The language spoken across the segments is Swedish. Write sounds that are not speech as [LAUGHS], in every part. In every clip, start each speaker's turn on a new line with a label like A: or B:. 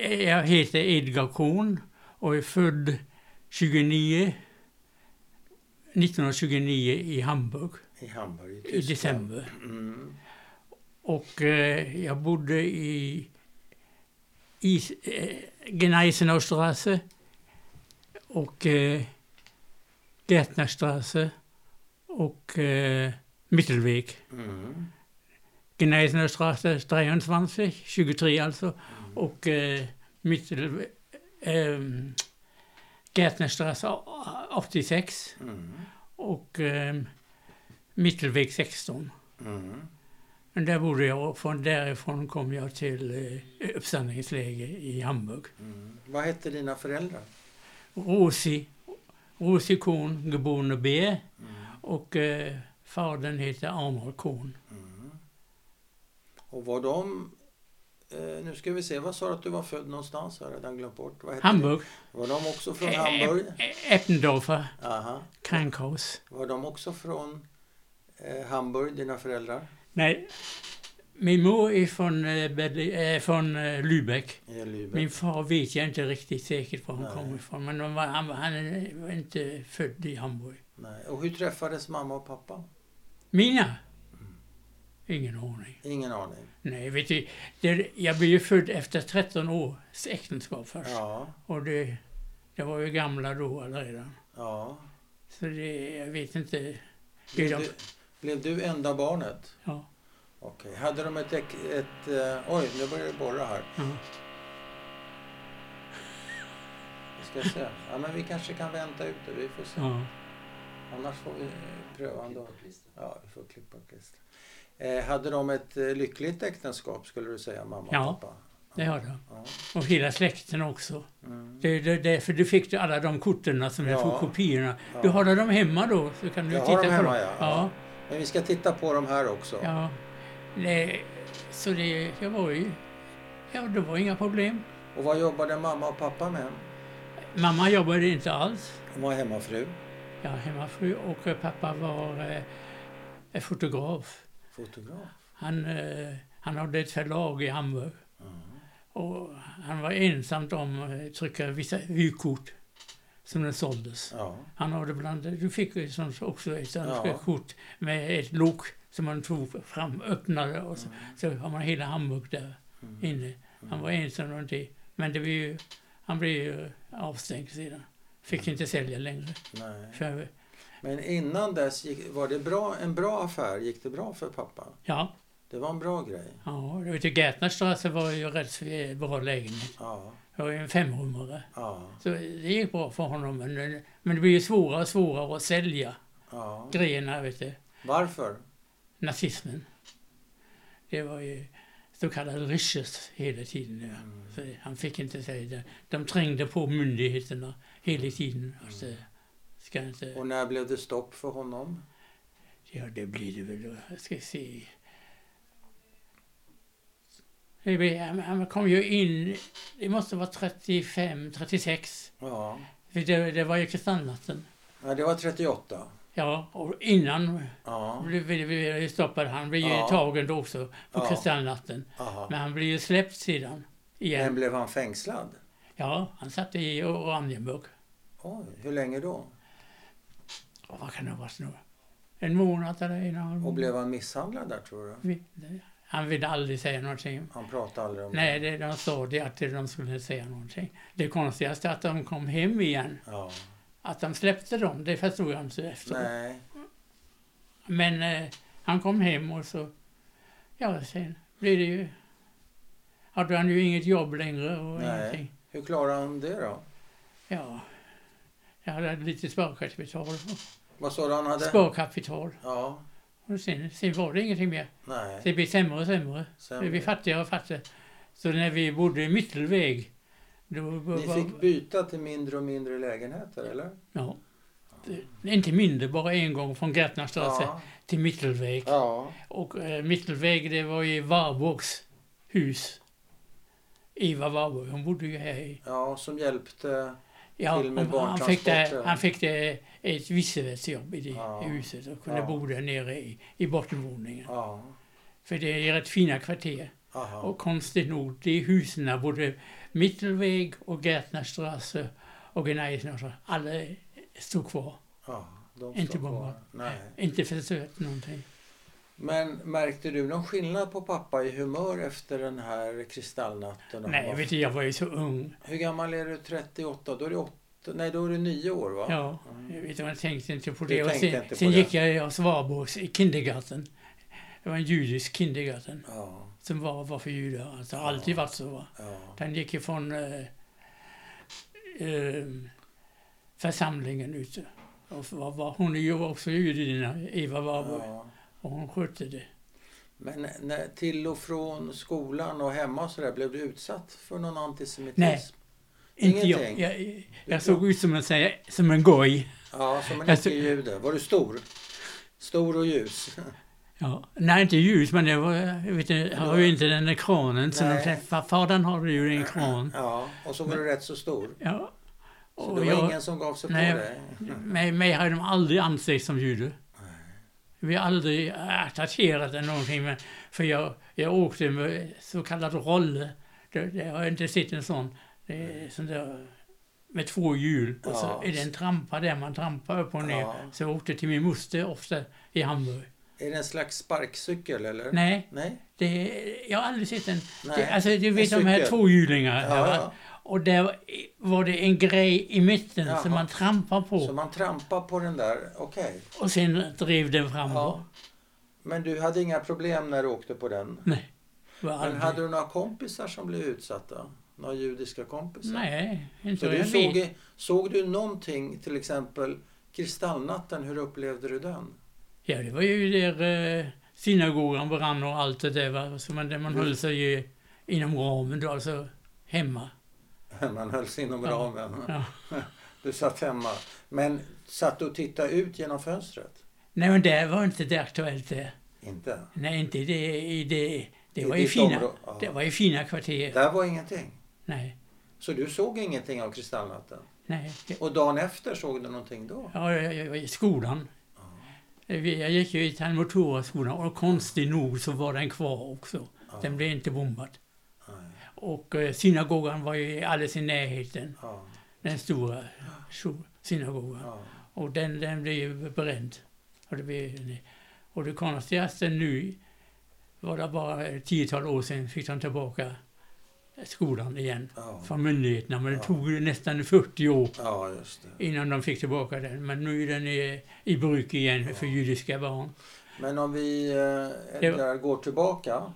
A: Jag heter Edgar Korn och är född 29, 1929 i Hamburg
B: I Hamburg i
A: i
B: Tyskland.
A: december.
B: Mm.
A: Och eh, jag bodde i, i eh, Gneisenauer Straße och eh, Gärtner Straße och eh, Mittelweg.
B: Mm.
A: Gneisenauer Straße 23, 23 alltså,
B: Mm.
A: och eh, Mittel, eh, Gärtner Straße 86
B: Mm.
A: och eh, Mittelweg 16.
B: Mm.
A: Men där bodde jag och från därifrån kom jag till eh, uppsamlingsläger i Hamburg.
B: Mm. Vad hette dina föräldrar?
A: Rosi, Rosi Kohn, geborene Beer
B: Mm.
A: och eh, fadern heter Arnold Kohn.
B: Mm. Och var de... Eh, nu ska vi se, vad sa du att du var född någonstans? Jag har redan glömt bort. Vad hette
A: Hamburg,
B: det? Var de också från Hamburg?
A: Ä- Ä- Eppendorfer,
B: Aha.
A: Krankaus.
B: Var de också från eh, Hamburg, dina föräldrar?
A: Nej, min mor är från, eh, Berlin, eh, från eh, Lübeck.
B: I Lübeck?
A: Min far vet jag inte riktigt säkert var han
B: Nej.
A: kommer ifrån, men han var, han, var- han var inte född i Hamburg.
B: Nej. Och hur träffades mamma och pappa?
A: Mina? Ingen aning.
B: Ingen aning.
A: Nej, vet du, det, jag blev ju född efter 13 års äktenskap först.
B: Ja,
A: Och det, det var ju gamla då redan.
B: ja.
A: Så det, jag vet inte. Det är
B: Blev
A: de,
B: du, blev du enda barnet?
A: ja,
B: Okej. Hade de ett... ek- ett eh, oj, nu börjar det borra här.
A: ja.
B: Vi ska se. Ja, men vi kanske kan vänta ut det. Vi får se.
A: ja.
B: Annars får vi eh, pröva ändå. Ja, vi får klippa och klistra. Eh, hade de ett eh, lyckligt äktenskap skulle du säga, mamma och
A: Ja.
B: pappa?
A: Det har de.
B: Ja.
A: Och hela släkten också.
B: Mm.
A: Det är det- därför du fick alla de korten som jag
B: Ja.
A: får kopiorna.
B: Ja.
A: Du har dem hemma då, så kan du
B: Jag har
A: titta
B: dem
A: på
B: hemma,
A: dem.
B: ja.
A: ja.
B: Men vi ska titta på de här också.
A: ja. Nej, så det, jag var ju... Ja, det var inga problem.
B: Och vad jobbade mamma och pappa med?
A: Mamma jobbade inte alls.
B: Hon var hemmafru,
A: Jag var hemmafru och eh, pappa var eh, en fotograf.
B: fotograf.
A: Han, eh, han hade ett förlag i Hamburg
B: Mm.
A: och han var ensam om att trycka vissa vykort som den såldes.
B: Ja.
A: Han hade bland du fick ju som också ett sånt
B: Ja.
A: kort med ett lok som man tog fram, öppnade och så, så har man hela Hamburg där inne. Han var ensam om det. Men det blev ju, han blev ju avstängd sedan. Fick inte sälja längre.
B: Nej.
A: För,
B: Men innan dess, gick, var det bra, en bra affär? Gick det bra för pappa?
A: ja,
B: Det var en bra grej.
A: ja, det var till Gärtnerstrasse var ju rätt bra lägenhet.
B: Ja,
A: Det var ju en femrummare.
B: ja,
A: Så det gick bra för honom. Men, det- men det blir ju svårare och svårare att sälja
B: ja.
A: grejerna, vet du.
B: Varför?
A: Nazismen. Det var ju så kallade riches hela tiden. Ja.
B: Mm.
A: Så han fick inte säga det. De trängde på myndigheterna hela tiden. Alltså, ska inte...
B: Mm. Och när blev det stopp för honom?
A: Ja, det blir det väl. då. Jag ska se. Det blir- Han han kom ju in, det måste vara 35, 36.
B: Ja.
A: För det, det var ju kristallnatten.
B: ja, det var 38.
A: Ja, och innan
B: Ja,
A: blev blev- blev stoppad. Han blev ju
B: Ja.
A: tagen då också på
B: Ja.
A: kristallnatten.
B: aha.
A: Men han blev ju släppt sedan.
B: Men
A: Igen.
B: blev han fängslad?
A: Ja, han satt i Oranienburg.
B: Oj, hur länge då?
A: Och Vad kan det vara nu? En månad eller en och en halv
B: Och
A: månad?
B: blev han misshandlad där tror du?
A: Vi- Han ville aldrig säga någonting.
B: Han pratade aldrig om
A: Nej, det, de sa det att de skulle säga någonting. Det konstigaste är att de kom hem igen.
B: det. Ja.
A: Att de släppte dem, det förstod jag inte efteråt.
B: Nej.
A: Men eh, han kom hem och så, ja sen blev det ju, hade han ju inget jobb längre och
B: Nej.
A: ingenting.
B: Hur klarade han det då?
A: Ja, jag hade lite sparkapital, och-
B: Vad sa du han hade?
A: sparkapital
B: Ja,
A: och sen, sen var det ingenting mer.
B: nej.
A: Det blev sämre och sämre. Det blev
B: Sen,
A: fattigare och fattigare. Så när vi bodde i Mittelväg, då
B: ni
A: var,
B: fick byta till mindre och mindre lägenheter eller?
A: ja, det- inte mindre, bara en gång från Gärtnerstrasse
B: Ja.
A: till Mittelväg.
B: ja.
A: Och eh, Mittelväg, det var ju Warburgs hus. Eva Warburg, hon bodde ju här i...
B: Ja, som hjälpte.
A: Ja,
B: Till och med
A: hon- han, fick det,
B: barntransporter.
A: han fick det ett viceverksjobb i det
B: Ja.
A: huset och kunde
B: Ja.
A: bo där nere i, i bottenvåningen.
B: Ja.
A: För det är rätt fina kvarter.
B: Ja. Aha.
A: Och konstigt nog, de husen, både Mittelväg och Gärtnerstrasse och Gneisnerstrasse, alla stod kvar.
B: ja, de
A: Inte
B: står kvar.
A: bombat.
B: Nej.
A: Inte försökt någonting.
B: Men märkte du någon skillnad på pappa i humör efter den här kristallnatten? Och
A: Nej,
B: vad-
A: vet du, jag var ju så ung.
B: Hur gammal är du? 38? Då är du 8, nej, då är du 9 år va?
A: Ja,
B: Mm.
A: jag, vet, jag tänkte inte på
B: Du
A: det. Och
B: tänkte
A: sen
B: inte på
A: sen
B: det.
A: gick jag i Svarborgs i kindergarten. Det var en judisk kindergarten
B: Ja,
A: som var, var för judar. Alltså, det har alltid varit så. Va?
B: ja.
A: Den gick ifrån eh, eh, församlingen ute. Och var, var, hon är ju också judinna, Eva Warburg,
B: ja.
A: och hon skötte det.
B: Men när, till och från skolan och hemma och sådär, blev du utsatt för någon antisemitism?
A: Nej. Inte jag.
B: Ingenting.
A: Jag, jag såg ut som en, som en goj.
B: Ja, som en
A: Alltså-
B: icke-jude. Var du stor? Stor och ljus?
A: Ja. Nej, inte ljus, men det var, jag vet, inte, jag har ju inte den där kranen. Så de
B: Nej.
A: säger, "Fa- fadern har ju en kran.
B: Ja, och så var du rätt så stor.
A: Ja.
B: Så
A: Och
B: det var
A: jag-
B: ingen som gav sig
A: Nej.
B: på dig?
A: Mig, mig har de aldrig ansett som jude. Vi har aldrig attackerat eller någonting. Men, för jag, jag åkte med så kallad rolle. Det, det har jag inte sett en sån. Det är sån där, med två hjul. Och så
B: Ja.
A: är det en trampa där man trampar upp och ner.
B: Ja.
A: Så jag åkte till min moster ofta i Hamburg.
B: Är det en slags sparkcykel eller?
A: Nej,
B: Nej?
A: det, jag har aldrig sett en. Det,
B: Nej,
A: alltså du
B: en
A: vet de här
B: cykel.
A: tvåhjulingarna. här,
B: Ja,
A: va?
B: ja.
A: Och där var det en grej i mitten
B: Jaha.
A: som man trampar på.
B: Så man trampar på den där, okej.
A: Och sen drev den framåt.
B: Ja. Men du hade inga problem när du åkte på den?
A: Nej. Var
B: Men
A: aldrig.
B: hade du några kompisar som blev utsatta? Några judiska kompisar?
A: Nej, inte
B: Så
A: vad jag
B: du
A: vet.
B: såg, såg du någonting, till exempel Kristallnatten, hur upplevde du den? [LAUGHS]
A: Ja, det var ju där eh, synagogan brann och allt det där. Va? Så man, där man
B: Du-
A: höll sig ju inom ramen då, alltså hemma.
B: Man höll sig inom
A: Ja.
B: ramen.
A: Ja.
B: [LAUGHS] Du satt hemma. Men satt du och tittade ut genom fönstret?
A: Nej, men det var inte det aktuellt det.
B: Inte?
A: Nej, inte i det. I det, det
B: I
A: var ju
B: ditt
A: fina.
B: områ- ja.
A: Det var ju fina kvarter.
B: Där var ingenting.
A: Nej,
B: Så du såg ingenting av Kristallnatten?
A: nej.
B: Och dagen efter såg du någonting då?
A: Ja, jag, jag var i skolan. Vi- Jag gick ju i Talmotora-skolan och konstigt nog så var den kvar också.
B: Ja.
A: Den blev inte bombad.
B: Nej.
A: Och eh, synagogan var ju alldeles i närheten.
B: Ja.
A: den stora stor- synagogan.
B: Ja.
A: Och den, den blev ju bränd. Och det, blev, och det konstigaste nu var det bara ett tiotal år sedan fick de tillbaka skolan igen
B: Ja.
A: från myndigheterna. Men det
B: Ja.
A: tog ju nästan 40 år
B: ja, just det.
A: innan de fick tillbaka den. Men nu är den i, i bruk igen för
B: Ja.
A: judiska barn.
B: Men om vi eh,
A: Det-
B: Edgar, går tillbaka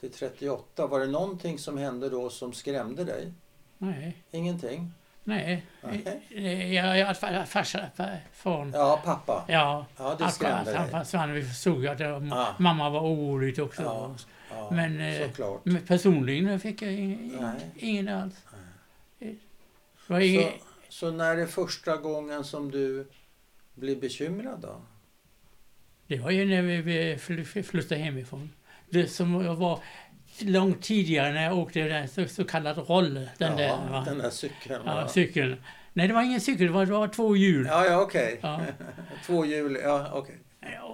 B: till 38, var det någonting som hände då som skrämde dig?
A: Nej,
B: Ingenting?
A: nej.
B: Nej.
A: Eh, Jag, jag, farsa, farsa, farn.
B: Ja, pappa.
A: Ja,
B: Ja, det
A: att,
B: skrämde
A: att han
B: dig.
A: försvann. Vi förstod att det var,
B: Ja.
A: mamma var orolig också.
B: Ja. Ja,
A: Men, eh,
B: såklart.
A: Men personligen fick jag ingen,
B: Nej.
A: ingen alls. Det var
B: Så,
A: ingen,
B: så när är första gången som du blir bekymrad då?
A: det var ju när vi- vi fly- flyttade hemifrån. Det som jag var långt tidigare när jag åkte den så, så kallad roll, den
B: ja,
A: där va?
B: den där cykeln.
A: ja,
B: va?
A: cykeln. Nej, det var ingen cykel, det var, det var två hjul.
B: ja, ja okej.
A: Ja.
B: Två hjul, ja okej.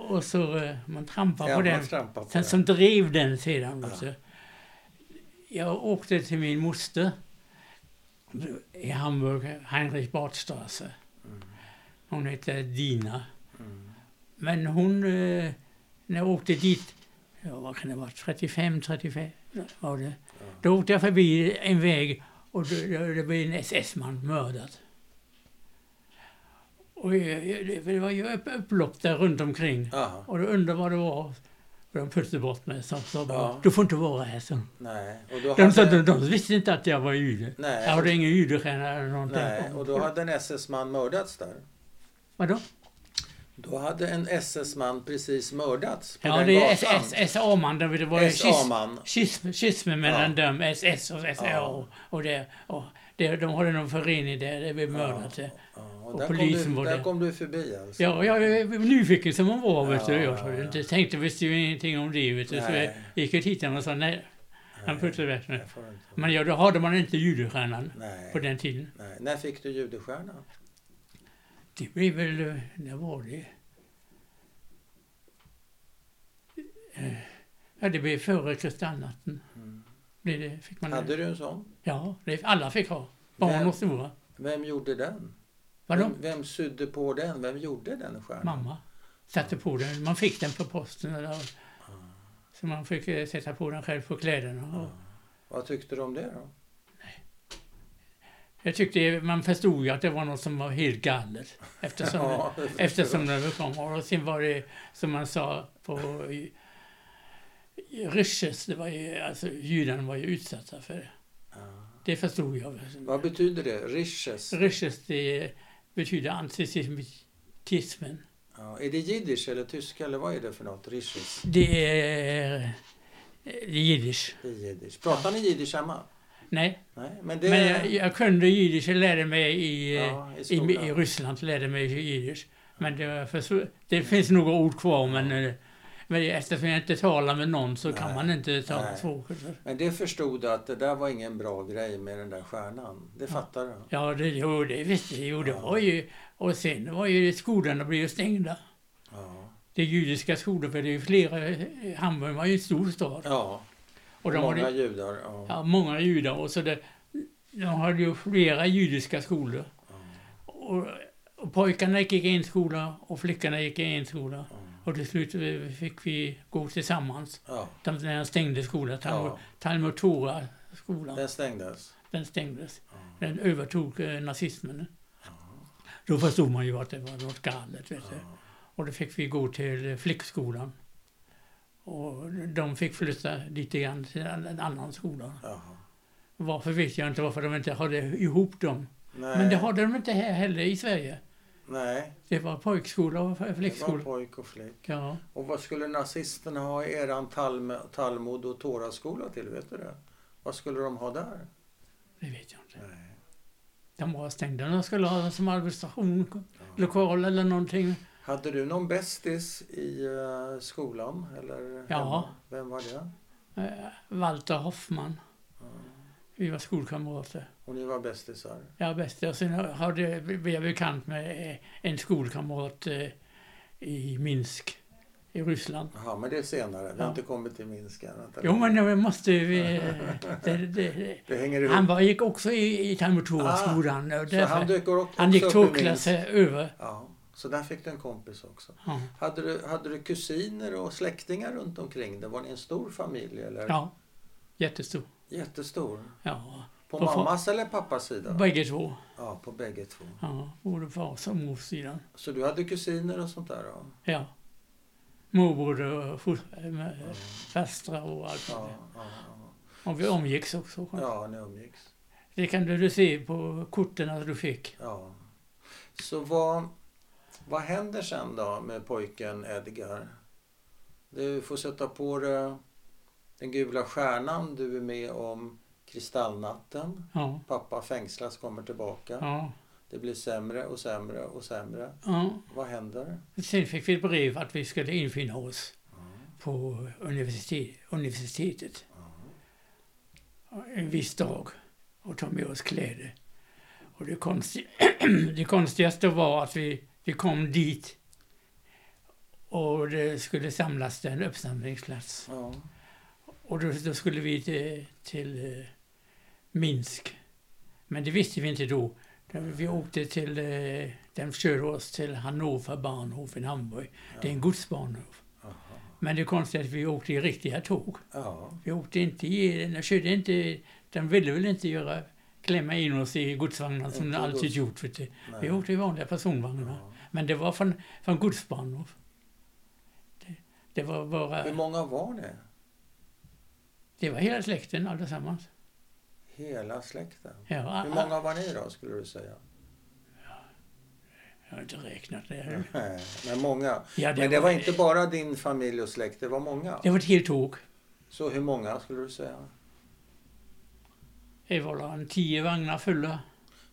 A: Och så eh, man trampade
B: Ja,
A: på
B: man
A: den.
B: trampar på
A: Sen,
B: den.
A: som drev den sedan.
B: Ja.
A: Också. Jag åkte till min moster i Hamburg, Heinrich Bartstrasse. Hon hette Dina.
B: Mm.
A: Men hon, eh, när jag åkte dit, ja, vad kan det vara, 35, 35 var det. Då åkte jag förbi en väg och då, då, då blev en SS-man mördad. Och jag, jag, det- det var ju upp, upplopp där runt omkring.
B: Aha,
A: Och då undrade vad det var. Och de puttade bort mig och sa bara,
B: Ja.
A: du får inte vara här. Så.
B: nej. Och då
A: De, sa- de,
B: hade,
A: de visste inte att jag var jude.
B: Nej.
A: Jag hade ingen judestjärna eller någonting.
B: nej, och då hade en SS-man mördats där.
A: Vadå?
B: Då hade en SS-man precis mördats på
A: Ja,
B: den
A: det är
B: gatan.
A: SS, SA-man. Det var ju schism-
B: SA-man.
A: schism- schismen mellan
B: Ja.
A: dem, SS och SA.
B: Ja.
A: Och, och, det, och det, de hade någon förening där, det blev mördat. Ja.
B: Ja, och
A: Och
B: där
A: polisen
B: kom du,
A: var
B: där
A: där.
B: kom du förbi alltså?
A: Ja, och jag var nyfiken som man var, vet du.
B: Ja,
A: Jag
B: ja,
A: ja,
B: ja.
A: inte, tänkte visste ju ingenting om det, vet du. Så jag
B: Nej.
A: gick och tittade och sa nej, han puttade bort mig.
B: Jag får inte.
A: Men ja, då hade man inte judestjärnan
B: nej,
A: på den tiden.
B: nej. När fick du judestjärna?
A: Det blev väl, eh, när var det? Eh, Ja, det blev före kristallnatten. Blev det, fick man
B: Mm. Hade du en sån?
A: Ja, det, alla fick ha. Barn
B: Vem?
A: och stora.
B: Vem gjorde den?
A: Vadå?
B: Vem, vem sydde på den? Vem gjorde den stjärnan?
A: Mamma satte på den. Man fick den på posten. Eller, så man fick eh, sätta på den själv på kläderna. Och
B: Vad tyckte du om det då?
A: jag tyckte man förstod ju att det var något som var helt galet. Eftersom,
B: [LAUGHS] Ja, det förstår
A: eftersom
B: jag.
A: den kom. Och sen var det som man sa på i- i Rysches, det var ju, alltså judarna var ju utsatta för det.
B: Ja.
A: Det förstod jag.
B: Vad betyder det? Risches?
A: Rysches, det betyder antisemitismen.
B: Ja. Är det jiddisch eller tyska eller vad är det för något? Risches?
A: Det är eh, det är jiddisch.
B: Det är jiddisch. Pratar ni jiddisch hemma?
A: Nej,
B: Nej, men det...
A: men jag, jag kunde jiddisch. Jag lärde mig i, eh,
B: Ja, i
A: i,
B: skolan.
A: i Ryssland. Lärde mig jiddisch. Men det, var för, det finns några ord kvar, men, eh, men eftersom jag inte talar med någon så kan
B: Nej.
A: man inte tala
B: Nej.
A: språket.
B: Men det förstod du att det där var ingen bra grej med den där stjärnan. Det fattar du?
A: Ja, det, jo, det visste jag. Jo, det
B: Ja.
A: var ju... Och sen var ju skolorna blev ju stängda.
B: Ja.
A: Det judiska skolor, för det är ju flera... Hamburg var ju en stor stad.
B: Ja.
A: Och de
B: Många
A: hade,
B: judar. Ja.
A: ja, många judar. Och så det, de hade ju flera judiska skolor. Och, och pojkarna gick i en skola och flickorna gick i en skola. Och till slut eh, fick vi gå tillsammans.
B: Ja.
A: De, när jag stängde skolan, Talmud,
B: Ja.
A: Talmud Torah-skolan, den.
B: Den stängdes.
A: stängdes. Den övertog eh, nazismen. Då förstod man ju att det var något galet. Vet du. Och då fick vi gå till eh, flickskolan. Och de fick flytta lite grann till en en annan skola.
B: Jaha.
A: Varför vet jag inte varför de inte hade ihop dem.
B: Nej.
A: Men det hade de inte här heller i Sverige.
B: Nej.
A: Det var pojkskola och
B: Det var
A: flickskola.
B: pojk och flick.
A: Ja.
B: Och vad skulle nazisterna ha i eran Talm- Talmud och Toraskola till? Vet du det? Vad skulle de ha där?
A: Det vet jag inte.
B: Nej.
A: De var stängda. De skulle ha den som administration, lokal eller någonting.
B: Hade du någon bästis i eh, skolan? Eller
A: Ja.
B: hemma? Vem var det?
A: Eh, Walter Hoffman. Vi var skolkamrater.
B: Och ni var bästisar?
A: Ja, bäst. Och sen hade, blev jag bekant med eh, en skolkamrat eh, i Minsk, i Ryssland.
B: Jaha, men det är senare. Vi har
A: Ja.
B: inte kommit till Minsk än. Vänta
A: Jo,
B: lite.
A: men jag måste... ju, eh, Det, det,
B: Det hänger
A: det.
B: ihop.
A: Han var, gick också i, i Talmud Torah-skolan. och
B: Ah, så han
A: därför-
B: dök också
A: Han gick
B: upp i
A: två
B: Minsk.
A: klasser över.
B: Ja, så där fick du en kompis också.
A: Ja.
B: Hade du, hade du kusiner och släktingar runt omkring dig? Var ni en stor familj? Eller?
A: ja. Jättestor.
B: Jättestor.
A: Ja.
B: På,
A: På fa-
B: mammas eller pappas sida?
A: Bägge två.
B: Ja, på bägge två.
A: Ja. Både fars och mors sidan.
B: Så du hade kusiner och sånt där? Ja.
A: Ja. Morbror och fos- äh, med- fastrar och allt vad
B: Ja,
A: det
B: ja, ja.
A: Och vi omgicks också.
B: ja ni umgicks.
A: Det kan du du se på korten att du fick.
B: Ja. Så vad, vad händer sen då med pojken Edgar? Du får sätta på dig den gula stjärnan. Du är med om Kristallnatten.
A: Ja.
B: Pappa fängslas, kommer tillbaka.
A: Ja.
B: Det blir sämre och sämre och sämre.
A: ja.
B: Vad händer?
A: Sen fick vi ett brev att vi skulle infinna oss på universitet, universitetet. En viss dag. Och ta med oss kläder. Och det, konsti- [CLEARS THROAT] det konstigaste var att vi, vi kom dit och det skulle samlas till en uppsamlingsplats.
B: Ja.
A: Och då, då skulle vi till, till eh, Minsk. Men det visste vi inte då. Där Vi åkte till, eh, den körde oss till Hannover Bahnhof i Hamburg. Det är en godsbahnhof. Men det konstiga är att vi åkte i riktiga tåg.
B: Ja.
A: Vi åkte inte i, den körde inte, den ville väl inte göra, klämma in oss i godsvagnar som
B: Inte
A: den
B: i
A: alltid
B: gods-
A: gjort. Vet du. Vi
B: Nej.
A: åkte i vanliga personvagnar. Men det var från, från godsbahnhof. Det, det var bara,
B: Hur många var det?
A: det var hela släkten allesammans.
B: Hela släkten?
A: Ja,
B: Hur många var ni då, skulle du säga?
A: Jag har inte räknat det.
B: Nej, men många.
A: Ja, det
B: men det var,
A: var-
B: inte bara din familj och släkt, det var många.
A: Det var ett helt tåg.
B: Så hur många skulle du säga?
A: Det var en tio vagnar fulla.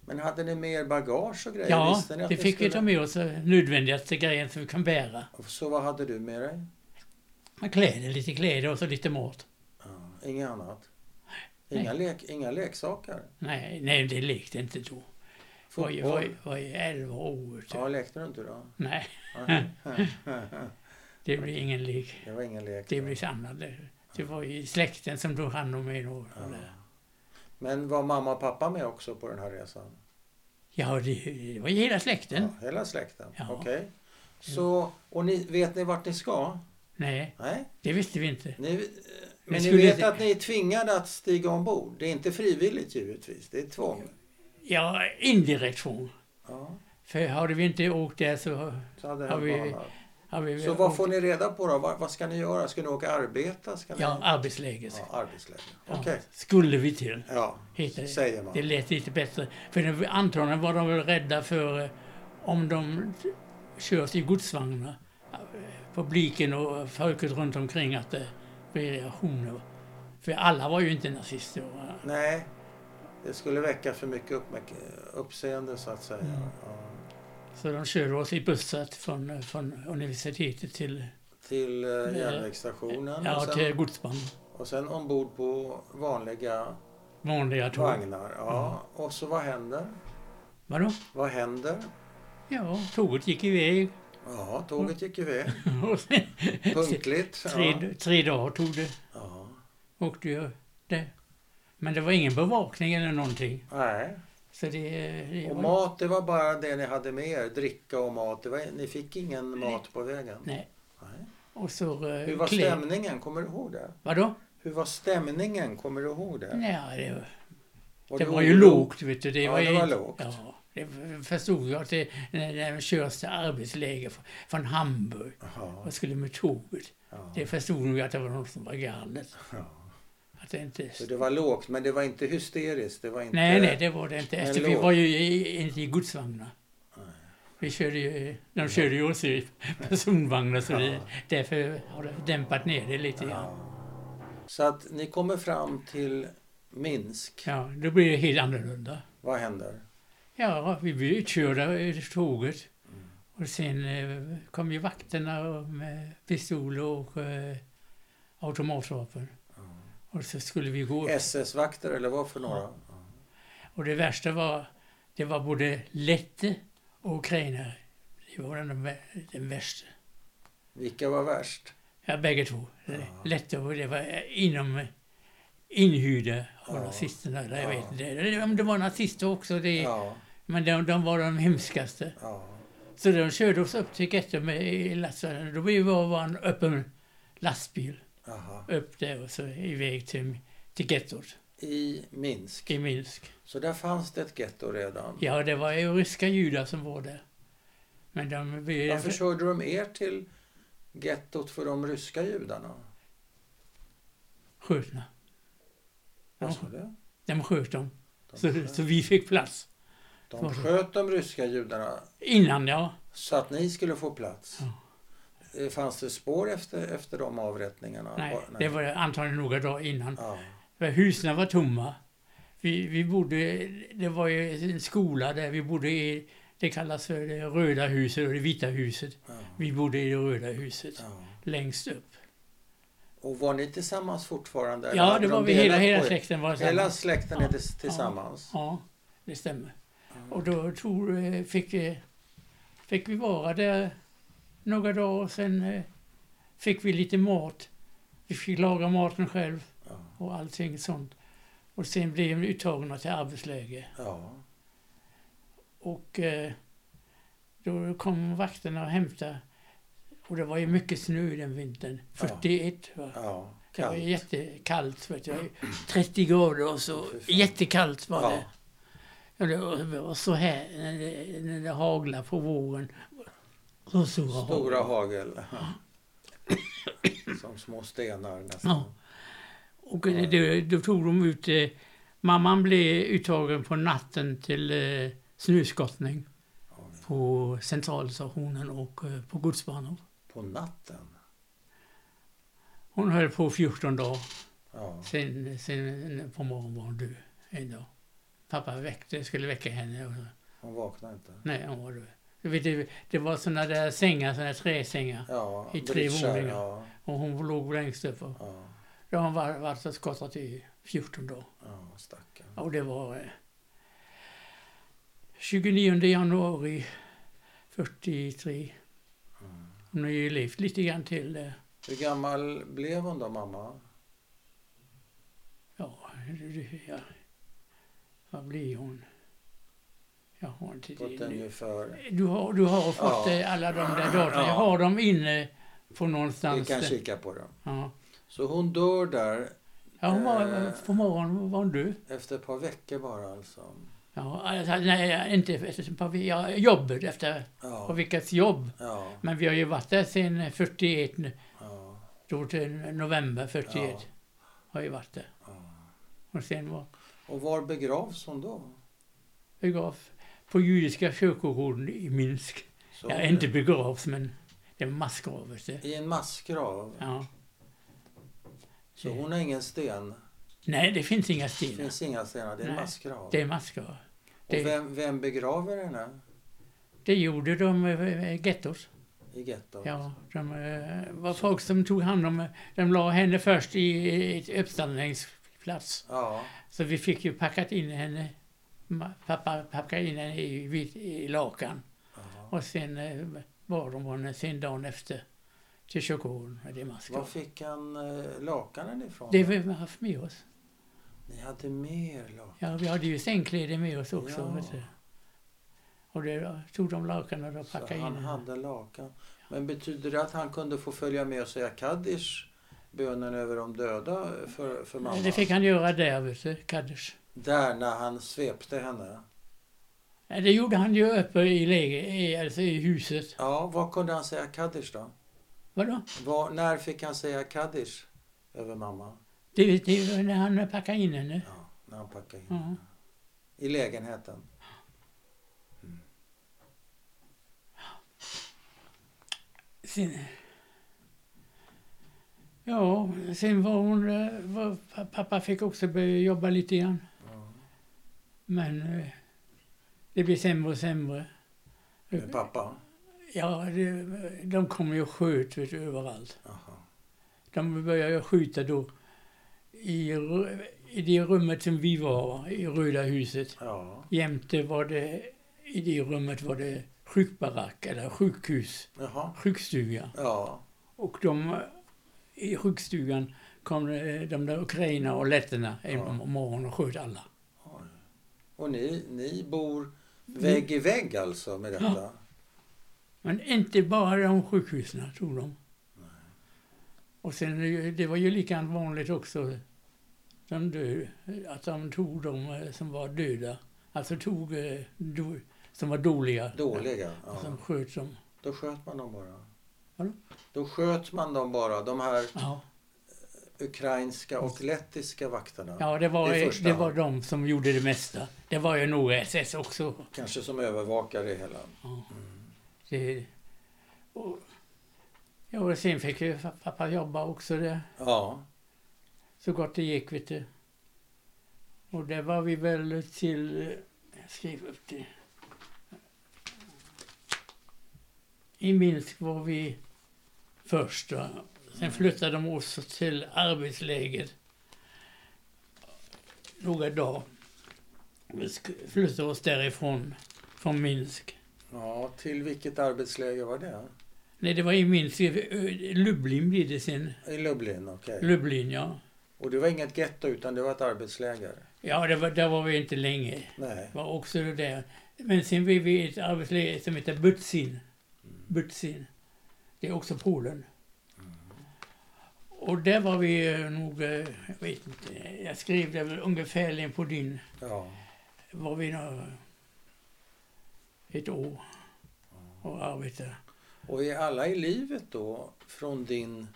B: Men hade ni mer bagage och grejer?
A: Ja,
B: Visste ni att
A: det
B: ni
A: fick vi
B: skulle-
A: ta med oss. eh, Nödvändigaste grejen som vi kan bära.
B: Så vad hade du med dig?
A: Kläder, lite kläder och så lite mat.
B: Ja, inget annat? Inga, lek, inga leksaker?
A: Nej, nej det lekte inte då. Var ju, var, ju-
B: Fotboll?
A: var ju 11 år. Typ.
B: Ja, lekte du
A: [LAUGHS]
B: inte då?
A: Nej,
B: Nej. [LAUGHS]
A: det blir ingen lek.
B: Det var ingen lek.
A: Det
B: då.
A: blir samlade. Det var i släkten som tog hand om mig då. och
B: Ja.
A: där.
B: Men var mamma och pappa med också på den här resan?
A: Ja, det, det var ju hela släkten.
B: Ja, hela släkten?
A: Ja. Mm.
B: Okej. Så, och ni, vet ni vart ni ska?
A: Nej,
B: Nej?
A: det visste vi inte.
B: Ni, eh, men ni
A: skulle
B: vet
A: inte-
B: att ni är tvingade att stiga ombord? Det är inte frivilligt givetvis, det är tvång.
A: Ja, indirekt tvång.
B: Ja,
A: För hade vi inte åkt där så
B: så hade det
A: Har
B: hänt
A: vi-
B: något annat.
A: hade vi
B: Så vad får ni reda på då? Vad, vad ska ni göra? Ska ni åka och arbeta? Ska ni...
A: Ja, arbetsläge.
B: ja arbetsläge.
A: Ja,
B: Okej.
A: Skulle vi till.
B: Ja,
A: Heter det.
B: säger man.
A: Det lät lite bättre. För det- antagligen var de väl rädda för eh, om de körs i godsvagnar, eh, publiken och folket runt omkring, att det blir reaktioner. För alla var ju inte nazister. va?
B: Nej, det skulle väcka för mycket uppmärk- uppseende så att säga.
A: Mm.
B: Ja.
A: Så de körde oss i bussar från, eh, från universitetet till,
B: Till eh,
A: Nej.
B: järnvägsstationen och,
A: ja,
B: sen,
A: till godsvagn.
B: och sen ombord på vanliga
A: Vanliga tåg. Mm.
B: vagnar. Ja. Och så vad händer?
A: Vadå?
B: Vad händer?
A: Ja, tåget gick iväg. [LAUGHS]
B: Ja, tåget gick iväg.
A: Och sen-
B: Punktligt. Ja.
A: Mm. tre, tre dagar tog det.
B: Ja.
A: åkte jag där. Men det var ingen bevakning eller någonting.
B: Nej.
A: Så det... det
B: Och
A: var-
B: mat, det var bara det ni hade med er. Dricka och mat. Det var, ni fick ingen mat på vägen.
A: Nej.
B: Nej.
A: Och så... eh,
B: Hur var
A: klä-
B: stämningen? Kommer du ihåg det?
A: Vadå?
B: Hur var stämningen? Kommer du ihåg det?
A: Nej, det,
B: Var
A: det
B: du
A: var ju
B: orolig?
A: lågt, vet du. Det
B: Ja,
A: var ju
B: det var
A: inte-
B: lågt.
A: Ja, det förstod jag att det, när, när de körs till arbetsläger fr- från Hamburg
B: Jaha,
A: och skulle med tåget.
B: ja.
A: Det förstod nog att det var något som var galet.
B: Ja.
A: Att det inte...
B: Så det var lågt, men det var inte hysteriskt. Det var inte...
A: Nej, nej, det var det inte.
B: Men
A: Efter, vi
B: lågt.
A: var ju i- inte i godsvagnar. Vi körde ju, de körde ju oss i personvagnar så det, därför har det dämpat ner det lite grann.
B: Ja. Så att ni kommer fram till Minsk.
A: Ja, då blir det helt annorlunda.
B: Vad händer?
A: Ja, vi blev utkörda i tåget. Och sen eh, kom ju vakterna och med pistoler och eh, automatvapen. Och så skulle vi gå.
B: SS-vakter eller vad för några?
A: Och det värsta var, det var både letter och ukrainare. Det var den, vä- den värsta.
B: Vilka var värst?
A: Ja, bägge två.
B: Ja.
A: Letter och det var eh, inom inhyrda av
B: Ja.
A: nazisterna. eller Jag
B: Ja.
A: vet inte. Eller Om det var nazister också, det,
B: Ja,
A: men de, de var de hemskaste.
B: ja.
A: Så de körde oss upp till Getto med i lastvagnen. Då blev det bara en öppen lastbil
B: Aha.
A: upp där och så iväg till, till gettot
B: I Minsk.
A: i Minsk.
B: Så där fanns det ett getto redan.
A: Ja, det var ju ryska judar som var där. Men de... Vi,
B: Varför körde de er till gettot för de ryska judarna?
A: Skötna.
B: Vad
A: Ja.
B: sa du?
A: De sköt dem.
B: De
A: Så,
B: sköt-
A: så vi fick plats.
B: De sköt de ryska judarna
A: Innan, ja.
B: Så att ni skulle få plats?
A: Ja.
B: Eh, Fanns det spår efter, efter de avrättningarna?
A: Nej,
B: Var-
A: det var antagligen några dagar innan.
B: Ja.
A: För husen var tomma. Vi, vi bodde... Det var ju en skola där vi bodde i... Det kallas för det röda huset och det vita huset.
B: Ja.
A: Vi bodde i det röda huset,
B: Ja.
A: längst upp.
B: Och var ni tillsammans fortfarande? eller
A: Ja,
B: hade
A: det
B: de
A: var vi,
B: delat
A: hela, hela
B: på er?
A: släkten var
B: Hela
A: tillsammans.
B: släkten är
A: Ja.
B: tis- tillsammans?
A: Ja, det stämmer. Och då tog, eh, fick, eh, fick vi vara där några dagar och sen eh, fick vi lite mat. Vi fick laga maten själv
B: Ja.
A: och allting sånt. Och sen blev vi uttagna till arbetsläger.
B: Ja.
A: Och eh, då kom vakterna och hämtade. Och det var ju mycket snö den vintern.
B: Ja.
A: 41 va?
B: ja.
A: Det var
B: Kallt.
A: jättekallt. Vet jag. 30 grader och så
B: Fy fan.
A: jättekallt var
B: Ja.
A: det. Ja. det var- Och så här när det, när det haglar på våren. Så stora hagel.
B: Stora hagel. Som små stenar nästan.
A: Ja. Och det, det, då tog de ut... Eh, mamman blev uttagen på natten till eh, snöskottning på centralstationen och eh, på godsbanor.
B: På natten?
A: Hon höll på 14 dagar.
B: Ja.
A: Sen, sen på morgonen var hon död. En dag. Pappa väckte, skulle väcka henne. Och så.
B: Hon vaknade inte?
A: Nej, han var det. Du vet, det, det var såna där sängar, såna där träsängar.
B: Ja.
A: I tre
B: brittkärr,
A: våningar.
B: Ja.
A: Och hon låg längst upp. Och
B: Ja.
A: Då har hon var- varit så skottat i 14 dagar.
B: ja. Stackarn.
A: Och det var eh, 29 januari 43.
B: Mm.
A: Hon har ju levt lite grann till. eh,
B: Hur gammal blev hon då, mamma?
A: du- du- ja. Vad blir hon? Jag har inte
B: Fått
A: det nu.
B: ungefär...
A: Du har, du har fått
B: Ja.
A: eh, alla de där datorerna.
B: Ja.
A: Jag har dem inne på
B: Vi
A: någonstans. eh,
B: kan kika på dem.
A: Ja.
B: Så hon dör där
A: Ja, hon var,
B: Eh.
A: på morgonen var hon död.
B: efter ett par veckor bara alltså.
A: Ja, alltså, nej, inte efter på vi- ja, jobbet, efter på
B: Ja,
A: vilket jobb.
B: ja,
A: Men vi har ju varit där sedan 41 nu,
B: ja.
A: då till november 41. Har vi varit där.
B: ja.
A: Och sen var
B: Och var begravs hon då?
A: begravd på judiska kyrkogården i Minsk.
B: Så-
A: Ja, inte begravs, men det var massgravet.
B: I en massgrav.
A: Ja.
B: Så hon har ingen sten.
A: Nej, det finns inga
B: Det
A: stenar.
B: finns inga stenar, det är en
A: Nej.
B: massgrav.
A: Det är massgrav. det-
B: Och vem, vem begraver henne
A: Det gjorde de eh, gettos.
B: i gettot?
A: Ja, de eh, var folk som tog hand om... De la henne först i ett uppställningsplats.
B: Ja,
A: Så vi fick ju packat in henne, ma- pappa packade in henne i, vit- i lakan.
B: ja.
A: Och sen eh, bar de henne sen dagen efter till kyrkogården med det
B: Var
A: masken.
B: fick han eh, lakanen ifrån?
A: Det har vi haft med oss.
B: Ni hade mer lakan?
A: Ja, vi hade ju sängkläder med oss också.
B: Ja.
A: Vet du. Och det tog de lakanen och
B: Så
A: packade in
B: han
A: henne.
B: hade lakan. Men betyder det att han kunde få följa med och säga kaddish, bönen över de döda för, för mamma?
A: Det fick han göra där, vet du, Kaddish.
B: Där när han svepte henne?
A: Nej, Det gjorde han ju uppe i, läge, i, alltså i huset.
B: Ja, vad kunde han säga kaddish då?
A: Vadå?
B: Var, när fick han säga kaddish över mamma?
A: Det, det var när han packade in henne.
B: Ja, när han packade in.
A: Ja.
B: I lägenheten?
A: Sen, ja, sen var hon... eh, Var, pa- pappa fick också börja jobba lite grann.
B: Ja.
A: Men eh, det blev sämre och sämre. Mm.
B: Med pappa?
A: Ja, det, de kom ju och sköt vet du, överallt.
B: Jaha.
A: De började ju skjuta då i, ru- i det rummet som vi var i Röda huset.
B: Ja.
A: Jämte var det, i det rummet var det sjukbarack eller sjukhus,
B: Jaha.
A: sjukstuga.
B: Ja.
A: Och de, i sjukstugan kom det- de där ukrainarna och letterna en
B: Ja.
A: morgon och sköt alla.
B: Oj. Och ni, ni bor
A: Mm.
B: vägg i vägg alltså med detta?
A: Men inte bara de sjukhusen, tror de. Och sen, eh, det var ju lika vanligt också, de dö, att de tog de eh, som var döda, alltså tog eh, do, som var dåliga.
B: Dåliga?
A: Och
B: Ja.
A: som sköt dem.
B: Då sköt man dem bara?
A: Alltså- Vadå?
B: Då sköt man dem bara, de här
A: Ja,
B: ukrainska och lettiska vakterna?
A: ja det, var,
B: I
A: eh,
B: första
A: det var
B: hand.
A: de som gjorde det mesta. Det var ju några SS också.
B: Kanske som övervakare i hela?
A: Det, och, ja, och sen fick ju fa- pappa jobba också där,
B: Ja.
A: så gott det gick vet du. Och där var vi väl till, eh, jag skrev upp det. I Minsk var vi först. Va? Sen flyttade de oss till arbetsläger några dagar. Vi sk- flyttade oss därifrån, från Minsk.
B: ja. Till vilket arbetsläger var det?
A: Nej, det var i minst eh, Lublin blev det sen.
B: I Lublin, okej.
A: Lublin, ja.
B: Och det var inget getto utan det var ett arbetsläger?
A: Ja, det var, där var vi inte länge.
B: Nej.
A: var också det där. Men sen blev vi i ett arbetsläger som heter Butsin. Butsin. Det är också Polen. Och där var vi eh, nog, eh, jag vet inte, jag skrev det väl ungefärligen på din,
B: Ja.
A: var vi några, ett år och arbetade.
B: Och är alla i livet då från din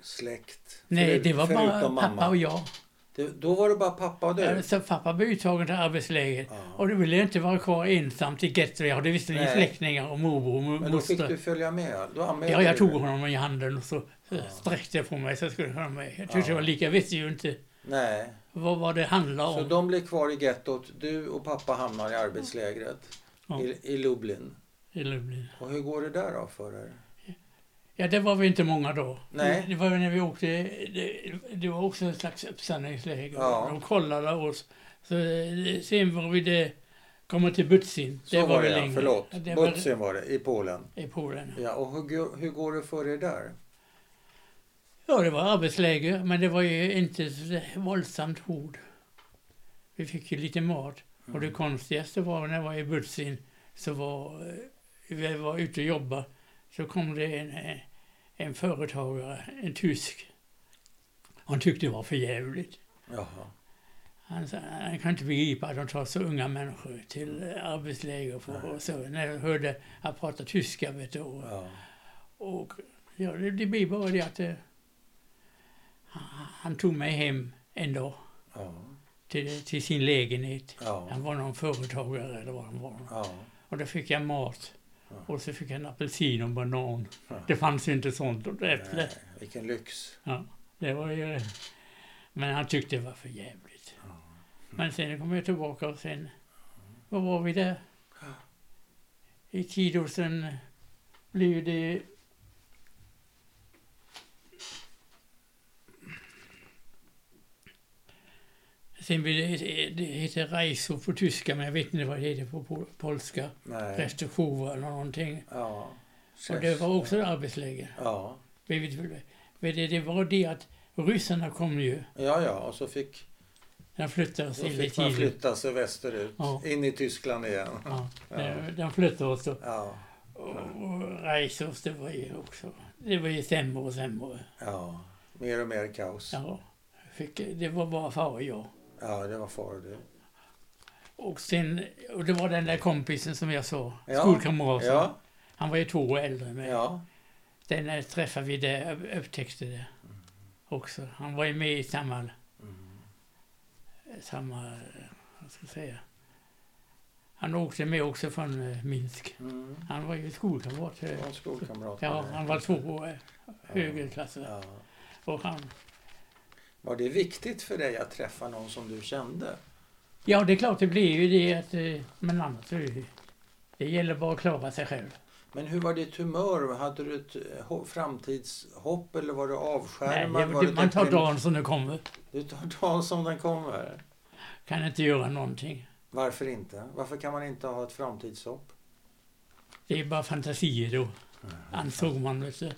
B: släkt?
A: Nej,
B: Förut-
A: det var bara
B: förutom
A: pappa och jag.
B: Det, då var det bara pappa och du?
A: Ja, Så pappa blev uttagen till arbetsläget.
B: Ja.
A: Och du ville inte vara kvar ensam till getto. Jag hade visserligen
B: Nej.
A: släktingar och morbror och mo-
B: Men då fick du
A: moster.
B: följa med? Då anmälde
A: Ja, jag
B: du
A: tog
B: dig.
A: honom i handen och så så
B: Ja.
A: sträckte jag på mig så skulle han med. Jag tyckte
B: Ja.
A: det var lika, jag visste ju inte
B: Nej.
A: vad, vad det handlade
B: Så
A: om.
B: de blev kvar i gettot. Du och pappa hamnar i arbetslägret
A: Ja,
B: i, i Lublin.
A: i Lublin.
B: Och hur går det där då för er?
A: Ja, det var vi inte många då.
B: Nej.
A: Det var ju när vi åkte, det, det var också en slags uppsamlingsläger.
B: Ja.
A: De kollade oss. Så, eh, sen var vi det, kommer till Butsin.
B: Så var, det,
A: vi
B: ja.
A: längre.
B: Förlåt.
A: Det var
B: Butsin var det, i Polen.
A: i Polen.
B: Ja, och hur, går- hur går det för er där?
A: Ja, det var arbetsläger, men det var ju inte så våldsamt hord. Vi fick ju lite mat. Och det konstigaste var när jag var i Butsin, så var, eh, vi var ute och jobbade, så kom det en, eh, en företagare, en tysk. Han tyckte det var för jävligt.
B: Jaha.
A: Han, sa, han kan inte begripa att de tar så unga människor till eh, arbetsläger. För, och så, när jag hörde han prata tyska, vet du. Och,
B: Ja.
A: och ja, det, det blir bara det att eh, han, han tog mig hem en dag
B: Ja.
A: till, till sin lägenhet.
B: Ja.
A: Han var någon företagare eller vad han var.
B: Ja.
A: Och då fick jag mat.
B: Ja.
A: Och så fick jag en apelsin och banan.
B: Ja.
A: Det fanns ju inte sånt. Och ett äpple.
B: Nej, vilken lyx.
A: Det var ju... Men han tyckte det var för jävligt.
B: Ja.
A: Men sen kom jag tillbaka och sen... Vad var vi där? I Tidåsen blev det... Sen blev det, det heter Reiso på tyska, men jag vet inte vad det heter på pol- polska.
B: Nej.
A: Restauration eller någonting.
B: Ja.
A: Och det var också ett arbetsläger.
B: Ja.
A: Vi vet- vi vet- Det var det att ryssarna kom ju.
B: Ja, ja. Och så fick,
A: De flyttade oss
B: så
A: in i
B: fick man
A: tiden.
B: flytta sig västerut.
A: Ja.
B: In i Tyskland igen.
A: Ja,
B: Ja.
A: de- de flyttade oss och,
B: Ja.
A: och, och Reisos, det var ju också... Det var ju sämre och sämre.
B: Ja. Mer och mer kaos. Ja,
A: Ja, fick, det var bara far och jag.
B: det var far och du.
A: Och sen, och det var den där kompisen som jag sa,
B: Ja.
A: skolkamraten.
B: Ja.
A: Han var ju två år äldre än mig.
B: Ja.
A: Den där träffade vi där, upp- upptäckte det också. Han var ju med i samma,
B: Mm.
A: samma, vad ska jag säga. Han åkte med också från eh, Minsk.
B: Mm.
A: Han var ju skolkamrat. eh,
B: Det var en skolkamrat.
A: Ja,
B: med.
A: han var två år eh, högre klass.
B: Ja.
A: Och han,
B: Var det viktigt för dig att träffa någon som du kände?
A: ja, det är klart det blir ju det att, eh, men annars är det ju- det gäller bara att klara sig själv.
B: Men hur var ditt humör? Hade du ett eh, ho- framtidshopp eller var du
A: Nej,
B: avskärmad? var
A: det,
B: du
A: man tar
B: deprim-
A: dagen som den kommer.
B: Du tar dagen som den kommer?
A: Kan inte göra någonting.
B: Varför inte? Varför kan man inte ha ett framtidshopp?
A: Det är bara fantasier då, ansåg man. Vet du.
B: Ja,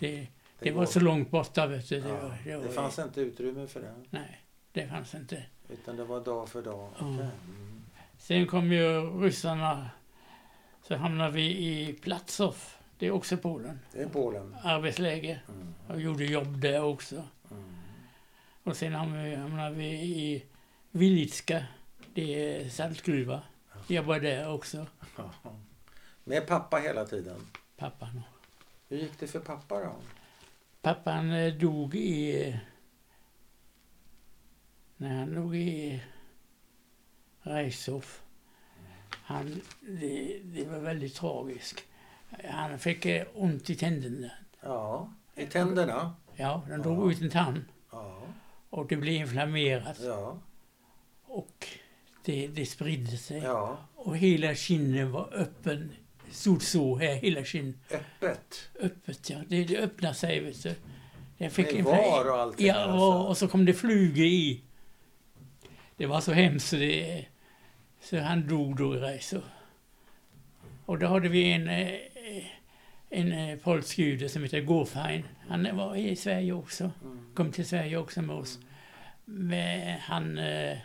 A: Det, Alltså, det,
B: går.
A: var så långt borta. Vet du. Det,
B: ja,
A: var,
B: det,
A: det, var,
B: fanns inte utrymme för det.
A: Nej, det fanns inte.
B: Utan det var dag för dag.
A: Ja.
B: Okej. Mm.
A: Sen kom ju ryssarna. Så hamnade vi i Platsov. Det är också Polen.
B: Det är Polen.
A: Arbetsläger.
B: Mm.
A: Jag gjorde jobb där också.
B: Mm.
A: Och sen hamnade vi, hamnade vi i Vilitska. Det är saltgruva. Jag var där också.
B: Med pappa hela tiden.
A: Pappan.
B: Hur gick det för pappa då?
A: Pappan eh, dog i... eh, När han dog i Reishof. Han, det, det var väldigt tragiskt. Han fick eh, ont i tänderna.
B: Ja, i tänderna.
A: Ja, de drog ut en tand
B: Ja,
A: och det blev inflammerat.
B: ja,
A: Och det, det spridde sig.
B: ja.
A: Och hela kinden var öppen. Stort så här, hela kinden.
B: Öppet.
A: Öppet, ja. Det, det öppnade sig, vet du. Jag fick
B: Med
A: en-
B: var och allting.
A: Ja, och,
B: alltså.
A: och så kom det flugor i. Det var så hemskt så det... Så han dog då i resor. Och då hade vi en, eh, en eh, polsk jude som heter Gorfein. Han var i Sverige också.
B: Mm.
A: Kom till Sverige också med oss. Men han eh,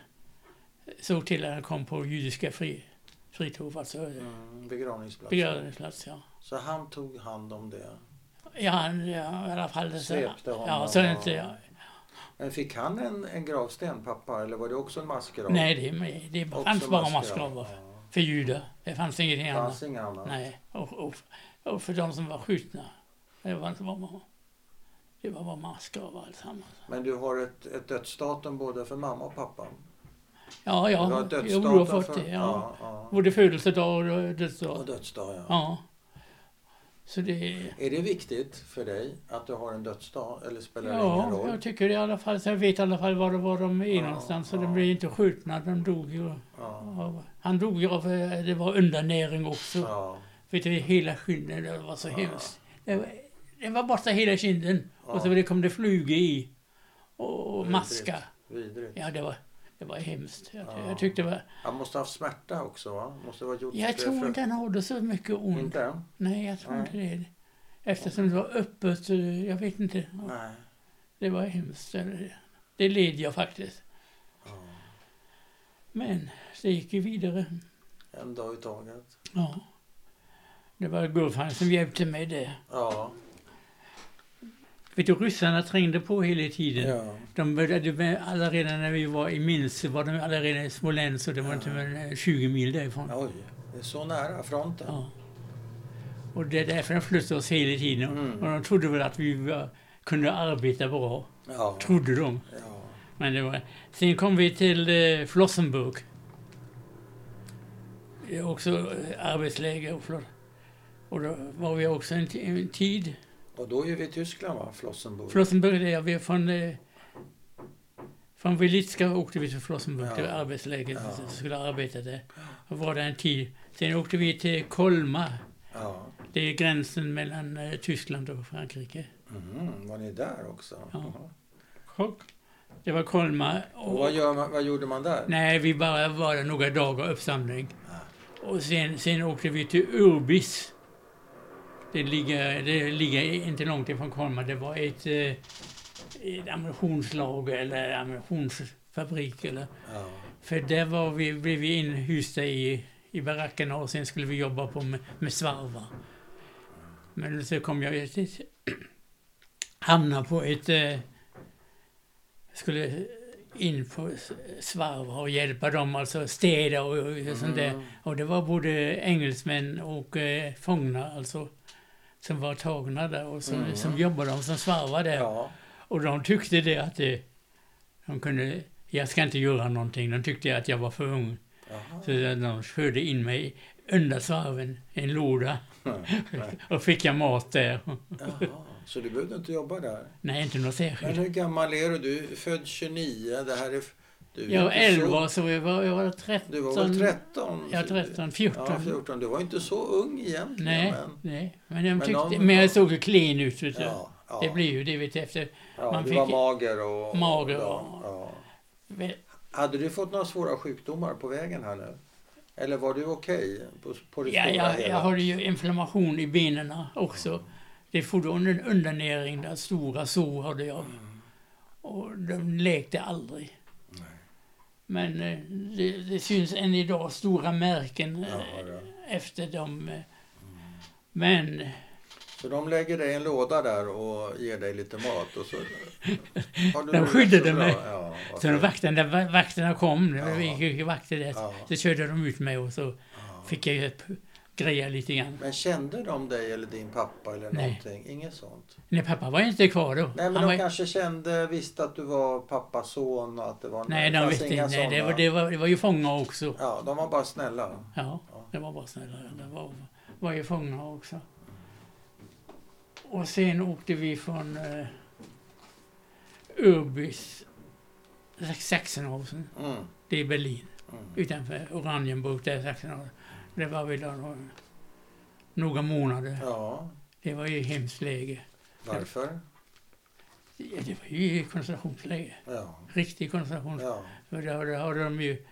A: såg till att han kom på judiska fri, fritov, alltså eh,
B: Mm, begravningsplats.
A: begravningsplats. Ja.
B: Så han tog hand om det.
A: Ja, han, ja, i alla fall... så-
B: Svepte honom
A: Ja, så
B: och-
A: inte... Ja,
B: Men fick han en, en gravsten, pappa? Eller var det också en massgrav?
A: nej, det, är- det
B: Också
A: fanns bara
B: massgrav.
A: massgravar.
B: Ja.
A: För judar. Det fanns ingenting
B: Det fanns
A: annat.
B: inga annat?
A: Nej. Och, och, och för de som var skjutna. Det var inte bara... Det var bara massgravar alltsammans.
B: Men du har ett, ett dödsdatum både för mamma och pappa?
A: Ja,
B: du har
A: ja.
B: ett
A: Jo,
B: dödsdatum
A: du har fått
B: för...
A: det. Ja.
B: ja,
A: Både födelsedag och
B: ja. Och
A: dödsdag.
B: dödsdag, ja.
A: Ja. Så det...
B: Är det viktigt för dig att du har en dödsdag? Eller spelar det ingen
A: Ja,
B: roll?
A: jag tycker i alla fall, så jag vet i alla fall var, var de är
B: Ja,
A: någonstans. Så
B: ja.
A: de blev inte skjutna, de dog ju.
B: Ja.
A: av- Han dog ju av, eh, det var undernäring också.
B: Ja.
A: Vet du, hela kinden, det var så hemskt. Det var, det var borta hela kinden. Och så det kom det flugor i. Och
B: Vidrigt.
A: maska.
B: Vidrigt.
A: Ja, det var, det var hemskt. Jag,
B: Ja.
A: jag tyckte det var...
B: Han måste ha haft smärta också, va? Måste ha gjort
A: Jag
B: det
A: tror
B: för-
A: inte han hade så mycket ont.
B: Inte?
A: Nej, jag tror
B: Nej.
A: inte det. Eftersom det var öppet, så jag vet inte.
B: Nej.
A: Det var hemskt. Det led jag faktiskt.
B: Ja.
A: Men det gick ju vidare.
B: En dag i taget.
A: Ja. Det var Gulfan som hjälpte mig där.
B: Ja.
A: Vet du, ryssarna trängde på hela tiden.
B: ja.
A: De började med, alla redan när vi var i Minsk så var de alla redan i Smolensk och det var inte mer än 20 mil därifrån.
B: Oj, det är så nära fronten.
A: Ja. Och det är därför de flyttade oss hela tiden.
B: Mm.
A: Och de trodde väl att vi var, kunde arbeta bra.
B: Ja.
A: Trodde de.
B: ja.
A: Men det var... Sen kom vi till eh, Flossenburg. Det är också eh, arbetsläger och flott. Och då var vi också en, ti- en tid.
B: Och då är vi i Tyskland va? Flossenburg.
A: Flossenburg, det är vi från... Eh, från Vilitska åkte vi till Flossenburg,
B: Ja.
A: till arbetslägret.
B: Ja.
A: Ja. Skulle arbeta där. Och var där en tid. Sen åkte vi till Kolmar.
B: ja.
A: Det är gränsen mellan eh, Tyskland och Frankrike.
B: Mhm, var ni där också?
A: Ja.
B: Jaha.
A: Det var Kolmar.
B: Och vad, gör man, vad gjorde man där?
A: Nej, vi bara var där några dagar uppsamling. Och sen, sen åkte vi till Urbis. Det ligger, det ligger inte långt ifrån Kolmar. Det var ett, eh, ett ammunitionslager eller ammunitionsfabrik. Eller.
B: Ja.
A: För där var vi, blev vi inhysta i, i barackerna och sen skulle vi jobba på med, med svarvar. Men så kom jag till, hamna på ett... Eh, skulle in på s- svarvar och hjälpa dem, alltså städa och, och sånt där.
B: Mm.
A: Och det var både engelsmän och eh, fångna alltså som var tagna där och som,
B: Mm.
A: som jobbade och som svarvade där.
B: Ja.
A: Och de tyckte det att det, de kunde, jag ska inte göra någonting. De tyckte att jag var för ung.
B: Jaha.
A: Så de körde in mig under svarven i en låda och fick jag mat där.
B: Jaha. Så du behövde inte jobba där?
A: Nej, inte något
B: Men
A: särskilt.
B: hur gammal är du? Du är född 29. Det här är... Du är
A: Jag var
B: inte så-
A: 11 så jag var, jag var 13.
B: Du var väl 13?
A: Ja, 13,
B: Ja,
A: 14.
B: 14. Du var inte så ung egentligen.
A: Nej,
B: Men,
A: nej. Men, de
B: Men
A: tyckte,
B: de-
A: men jag såg ju klen ut. Vet du.
B: ja, ja.
A: Det blir ju det vet du, efter.
B: ja,
A: man
B: du
A: fick-
B: var mager och...
A: Mager och-
B: ja, ja.
A: Men
B: Hade du fått några svåra sjukdomar på vägen här nu? Eller var du okej på, på det
A: Ja,
B: stora
A: jag,
B: hela?
A: jag hade ju inflammation i benen också. Det är fortfarande en undernäring, där stora sår hade jag. Och de läkte aldrig. Men eh, det, det syns än idag stora märken eh,
B: Ja, ja.
A: efter dem. eh. Men
B: Så de lägger dig i en låda där och ger dig lite
A: [LAUGHS]
B: mat och så... Har du
A: De
B: det
A: skyddade
B: så bra?
A: mig.
B: Ja, vad
A: så när
B: fint.
A: vakterna, va- vakterna kom, när vi
B: Ja.
A: gick vakter där,
B: Ja.
A: så körde de ut mig och så
B: Ja.
A: fick jag ju p- greja lite grann.
B: Men kände de dig eller din pappa eller
A: Nej.
B: någonting? Inget sånt?
A: Nej, pappa var inte kvar då.
B: Nej, men
A: Han
B: de
A: var,
B: kanske kände, visste att du var pappas son och att det var...
A: nej,
B: det
A: de
B: fanns
A: visste
B: inga
A: inte. Nej, det,
B: sådana.
A: var, det, var, det var ju fångar också.
B: Ja, de var bara snälla.
A: Ja,
B: Ja.
A: det var bara snälla. Det var, var ju fångna också. Och sen åkte vi från eh, Urbis, Sachsenhausen,
B: Mm.
A: det är Berlin,
B: Mm.
A: utanför Oranienburg, där är Sachsenhausen. Det var vi där några, några månader.
B: Ja,
A: Det var ju hemskt läge.
B: varför?
A: Ja, det var ju koncentrationsläge.
B: Ja,
A: Riktig koncentrationsläge.
B: ja.
A: För då hade, hade de ju,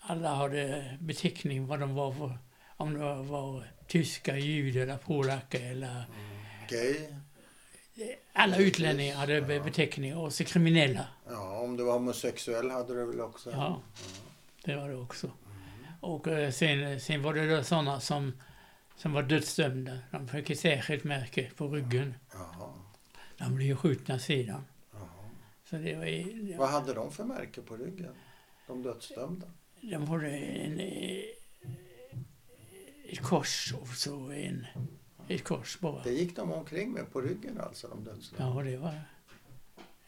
A: alla hade beteckning vad de var för, om de var, var tyska, judar eller polacker eller
B: Gay.
A: alla utlänningar hade be- beteckning och så kriminella.
B: Ja, om du var homosexuell hade du väl också?
A: Ja, det var det också. Och eh, sen, sen var det då sådana som, som var dödsdömda. De fick ett särskilt märke på ryggen.
B: Jaha.
A: De blev ju skjutna sedan.
B: Jaha.
A: Så det var, ju-
B: Vad hade de för märke på ryggen? De dödsdömda?
A: de hade en, eh, ett kors och så en, ett kors bara.
B: Det gick de omkring med på ryggen alltså, de dödsdömda?
A: Ja, det var...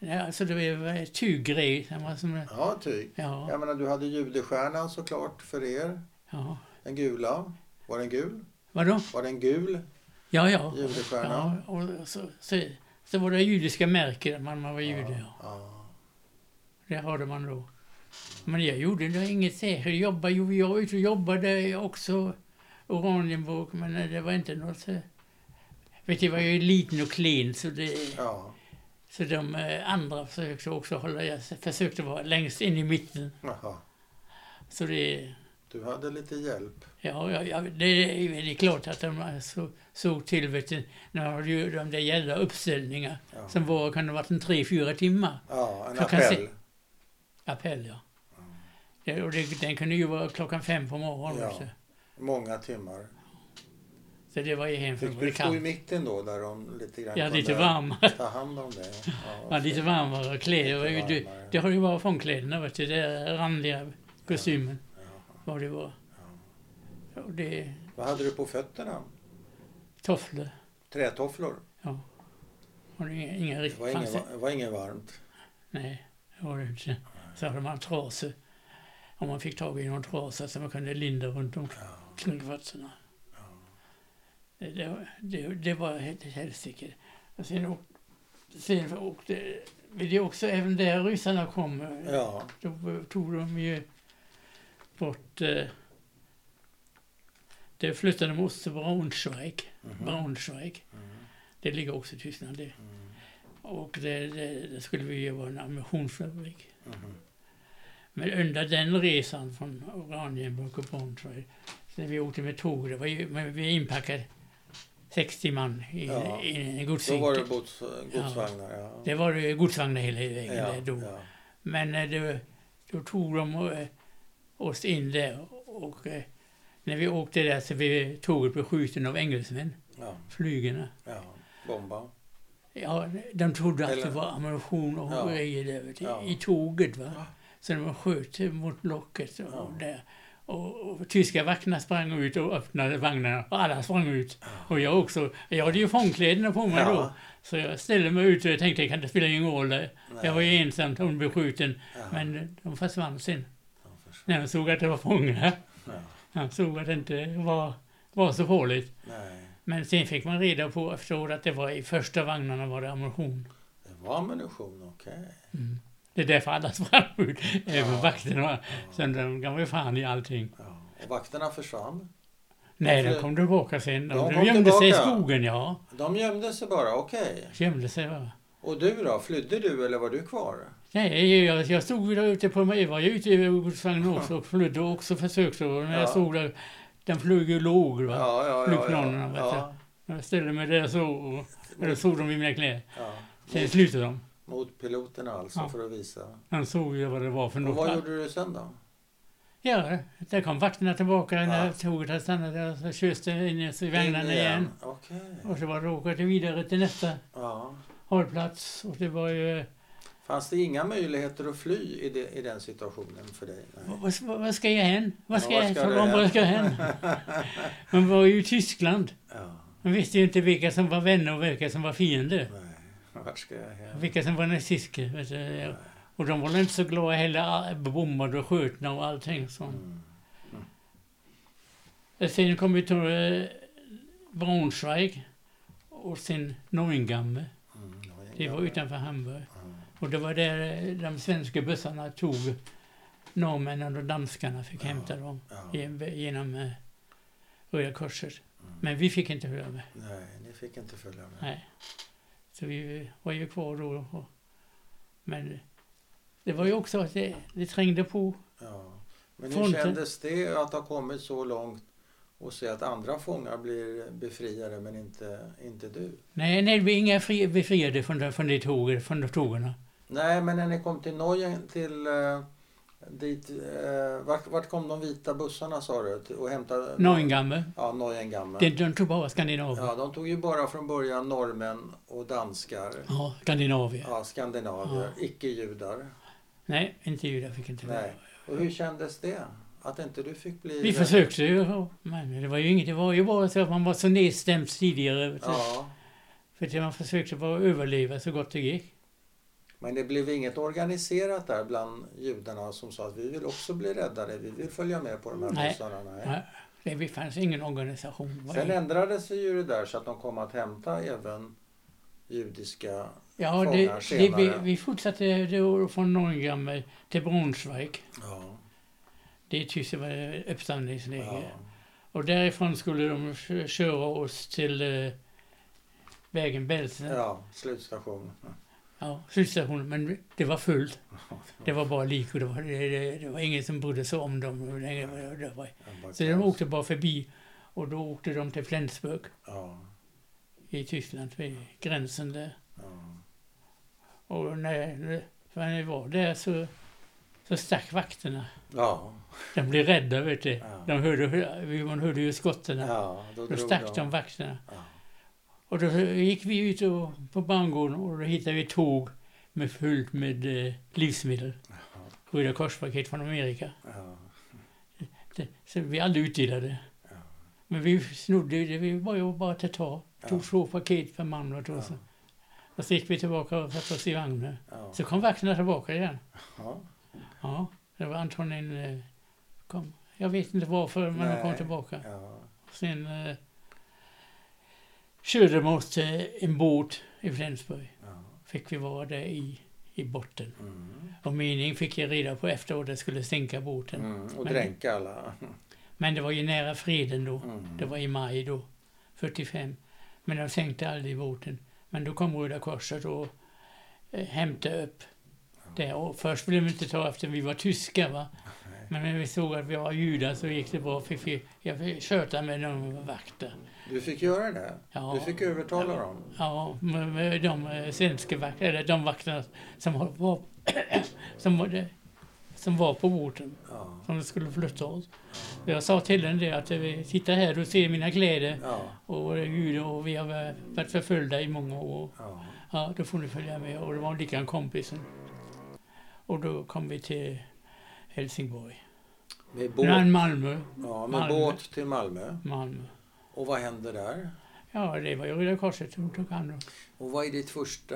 A: Ja, alltså det var ett tyggrej. som var som-
B: Ja, tyg.
A: Ja,
B: Jag menar, du hade judestjärnan såklart för er.
A: ja.
B: Den gula. Var den gul?
A: Vadå?
B: Var den gul?
A: Ja, ja. ja
B: Judestjärnan?
A: och så, så, så var det judiska märken man, man var jude. Ja.
B: Ja.
A: Det hade man då. Men jag gjorde det inget särskilt. Jobba, jo, jag var ute och jobbade också. Oranienburg, men det var inte något... så- Vet du, jag var ju liten och klen så det...
B: Ja.
A: Så de eh, andra försökte också hålla... Jag försökte vara längst in i mitten.
B: Jaha.
A: Så det...
B: Du hade lite hjälp.
A: Ja, ja, ja det, är- det är klart att de så, såg till vet du, när de gjorde de där jävla uppställningar
B: Ja,
A: som var, kan det ha varit en tre, fyra timmar.
B: ja en
A: Jag kan se-
B: appell.
A: Appell, ja. Det, och det, den kunde ju vara klockan fem på morgonen
B: Ja.
A: också.
B: Många timmar.
A: Så det var ju hem
B: Fick du
A: för
B: stå i
A: kallt.
B: mitten då där de lite grann
A: Ja, lite
B: kunde [LAUGHS]
A: varmare.
B: ta hand
A: [LAUGHS]
B: om dig? Ja,
A: Ja, lite
B: okej.
A: varmare kläder. Det var ju-
B: Lite
A: Det,
B: varmare.
A: det har ju varit fångkläderna, vet du. Det där randiga kostymen.
B: Ja.
A: Vad det var. Och det
B: Vad hade du på fötterna?
A: tofflor.
B: Trätofflor?
A: Och det, inga, inga
B: Det
A: riktigt...
B: var inget, va- det var inget varmt.
A: Nej, det var det inte. Så hade man trasor. Om man fick tag i någon trasa så man kunde linda runt om kringkvartserna. Det, det, var- det, det var ett helsike. Och Sen, åk, sen åkte vi det också, även där ryssarna kom, eh,
B: Ja,
A: då tog de ju bort... Eh, det flyttade de oss till Braunschweig.
B: Mhm. Mm.
A: Braunschweig. Det ligger också i Tyskland det. Och det, det, det skulle vi ju vara en ammunitionsfabrik.
B: Mhm.
A: Men under den resan från Oranienburg och Braunschweig, när vi åkte med tåg, det var ju, men vi inpackade 60 man i,
B: Ja.
A: i en
B: då var
A: godsvagn.
B: det gods, godsvagnar. Ja.
A: Det var det godsvagnar hela vägen där då.
B: ja.
A: Men eh, det, då tog de eh, oss in där och eh, när vi åkte där så blev tåget beskjuten av engelsmän,
B: Ja,
A: flygarna.
B: ja. Bomba.
A: Ja, de trodde att det
B: Eller-
A: var ammunition och
B: Ja.
A: grejer där, vet du,
B: Ja.
A: i tåget. Va?
B: Ja.
A: Så de sköt mot locket och,
B: Ja.
A: där. Och, och tyska vakterna sprang ut och öppnade vagnarna och alla sprang ut. Och jag också. Jag hade ju fångkläderna på mig då.
B: Ja.
A: Så jag ställde mig ut och jag tänkte, kan det spela ingen roll? Jag var ju
B: Nej.
A: ensam, hon blev skjuten.
B: Ja.
A: Men de försvann sen.
B: Ja, förstås.
A: När de såg att det var fångar.
B: Ja.
A: De såg att det inte var, var så farligt.
B: Nej,
A: Men sen fick man reda på efteråt att det var i första vagnarna var det ammunition.
B: det var ammunition, okej.
A: Mm. Det är därför alla sprang ut, även
B: Ja.
A: vakterna.
B: Ja.
A: Sen de gav ju fan i allting.
B: Ja. Och vakterna försvann.
A: Nej, de
B: Varför-
A: kom tillbaka sen. De,
B: De
A: de
B: kom
A: gömde sig i
B: tillbaka?
A: skogen, ja.
B: De gömde sig bara, okej.
A: Gömde sig, va.
B: Och du då, flydde du eller var du kvar?
A: Nej, jag, jag stod ju där ute på mig. Jag var ju ute i
B: [LAUGHS]
A: godsvagnen också och flydde och också försökte. Och när
B: Ja.
A: jag stod där, den flög ju låg, va.
B: Ja, ja,
A: Flygplanen, vet
B: ja.
A: När Jag ställde mig där så, och, och då såg de i mina kläder.
B: ja.
A: Sen slutade de.
B: Mot piloterna alltså,
A: Ja.
B: för att visa.
A: De såg ju vad det var för
B: Och vad
A: något.
B: gjorde du sen då?
A: Ja, där kom vakterna tillbaka när
B: Ja.
A: tåget hade stannat där och så köste in i vagnarna
B: In
A: igen.
B: Okej.
A: Och så var det åkte vidare till nästa
B: Ja.
A: hållplats och det var ju...
B: Fanns det inga möjligheter att fly i, det, i den situationen för dig? Nej.
A: Vad, vad vad ska jag hän? Vad ska
B: Ja,
A: jag
B: vad ska
A: tala
B: du
A: om?
B: hän?
A: Vad ska jag hän? Man var ju i Tyskland.
B: [LAUGHS] Ja.
A: Man visste ju inte vilka som var vänner och vilka som var fiender.
B: Nej. Vart ska jag hem?
A: Vilka som var nazister. vet du. Och de var inte så glada heller. all- Bombade och skjutna och allting sånt.
B: Mm.
A: Sen kom vi till eh, Braunschweig och sen Neuengamme.
B: Mm. det var inga-
A: Det var utanför Hamburg.
B: Mm.
A: Och det var där eh, de svenska bussarna tog norrmännen och danskarna fick
B: Ja.
A: hämta dem
B: Ja.
A: gen- genom eh, Röda Korset.
B: Mm.
A: Men vi fick inte följa med.
B: Nej, ni fick inte följa med.
A: Nej. Så vi eh, var ju kvar då. Och, men eh, det var ju också att det, det trängde på.
B: Ja. Men hur
A: Får inte.
B: kändes det att ha kommit så långt och se att andra fångar blir befriade men inte, inte du?
A: Nej, nej, vi är inga fri, befriade från, de- från de tågen, från de tågen.
B: Nej, men när ni kom till Norge, till eh, dit, eh, vart, vart kom de vita bussarna sa du? Till- Och hämtade?
A: Neuengamme.
B: Ja, Neuengamme.
A: De, de tog bara Skandinavien.
B: Ja,
A: Ja,
B: de tog ju bara från början norrmän och danskar.
A: Skandinavien.
B: Ja, skandinavier, icke-judar.
A: Nej, inte judar fick inte vara.
B: Nej. Och hur kändes det? Att inte du fick bli...
A: Vi försökte ju, men det var ju inget. Det var ju bara så att man var så nedstämd tidigare. vet du.
B: Ja,
A: För att man försökte bara överleva så gott det gick.
B: men det blev inget organiserat där bland judarna som sa att vi vill också bli räddade, vi vill följa med på de här
A: Nej.
B: bussarna. Nej.
A: Nej. Det fanns ingen organisation. Det var
B: Sen
A: ingen-
B: ändrades sig ju det där så att de kom att hämta även judiska...
A: ja,
B: fångar
A: det, det, vi,
B: senare.
A: vi fortsatte då från Norrgamme till Braunschweig.
B: Ja.
A: Det är tyst, det var ett uppsamlingsläger.
B: ja.
A: Och därifrån skulle de kö- köra oss till eh, vägen Belsen.
B: ja slutstation.
A: Ja, slutstationen, men det var fullt. Det var bara lik och det var, det, det, det var ingen som brydde sig om dem. hur länge det var- det var.
B: [LAUGHS] bara
A: Så de åkte bara förbi och då åkte de till Flensburg
B: Ja,
A: i Tyskland, vid gränsen där.
B: ja.
A: Och när, när vi var där så, så stack vakterna.
B: Ja,
A: De blev rädda, vet du.
B: Ja.
A: De hörde, man hörde ju skotten.
B: ja, då
A: Då
B: drog
A: stack de vakterna.
B: Ja.
A: Och då gick vi ut och, på bangården och då hittade vi ett tåg med fullt med eh, livsmedel. Röda korspaket från Amerika.
B: Ja,
A: Det, så vi aldrig utdelade.
B: Ja.
A: Men vi snodde ju det, vi var ju bara att ta. Tog
B: Ja.
A: två paket per man och
B: ja,
A: så. Och så gick vi tillbaka och satte oss i vagnen.
B: ja.
A: Så kom vakterna tillbaka igen.
B: Ja,
A: Ja, det var antagligen... eh, Kom. Jag vet inte varför, men de kom
B: Nej.
A: tillbaka.
B: ja,
A: Sen eh, körde de oss till eh, en båt i Flensburg.
B: ja.
A: Fick vi vara där i, i botten.
B: Mm.
A: Och meningen fick jag reda på efteråt, det skulle sänka båten.
B: Mm. Och
A: Men-
B: dränka alla.
A: Men det var ju nära freden då.
B: Mm.
A: Det var i maj då, 45. Men de sänkte aldrig båten. Men då kom Röda Korset och eh, hämtade upp det. Och först ville de inte ta eftersom vi var tyskar va.
B: Nej.
A: Men när vi såg att vi var judar så gick det bra. Fick vi, jag fick köta med de vakter.
B: Du fick göra det?
A: Ja.
B: Du fick övertala dem?
A: Ja, med- med de eh, svenska vakterna, eller de vakterna som har- var, [COUGHS] som var, det- som var på båten.
B: Ja.
A: Som skulle flytta oss. Jag sa till den det att eh, titta här, du ser mina kläder.
B: Ja,
A: Och det är judar och vi har varit förföljda i många år.
B: ja,
A: Ja, då får ni följa med. Och det var likadan kompisen. Och då kom vi till Helsingborg.
B: med båt,
A: Nej, Malmö.
B: ja, med
A: Malmö.
B: båt till Malmö.
A: Malmö.
B: Och vad hände där?
A: Ja, det var ju Röda Korset som tog hand om.
B: Och vad är ditt första...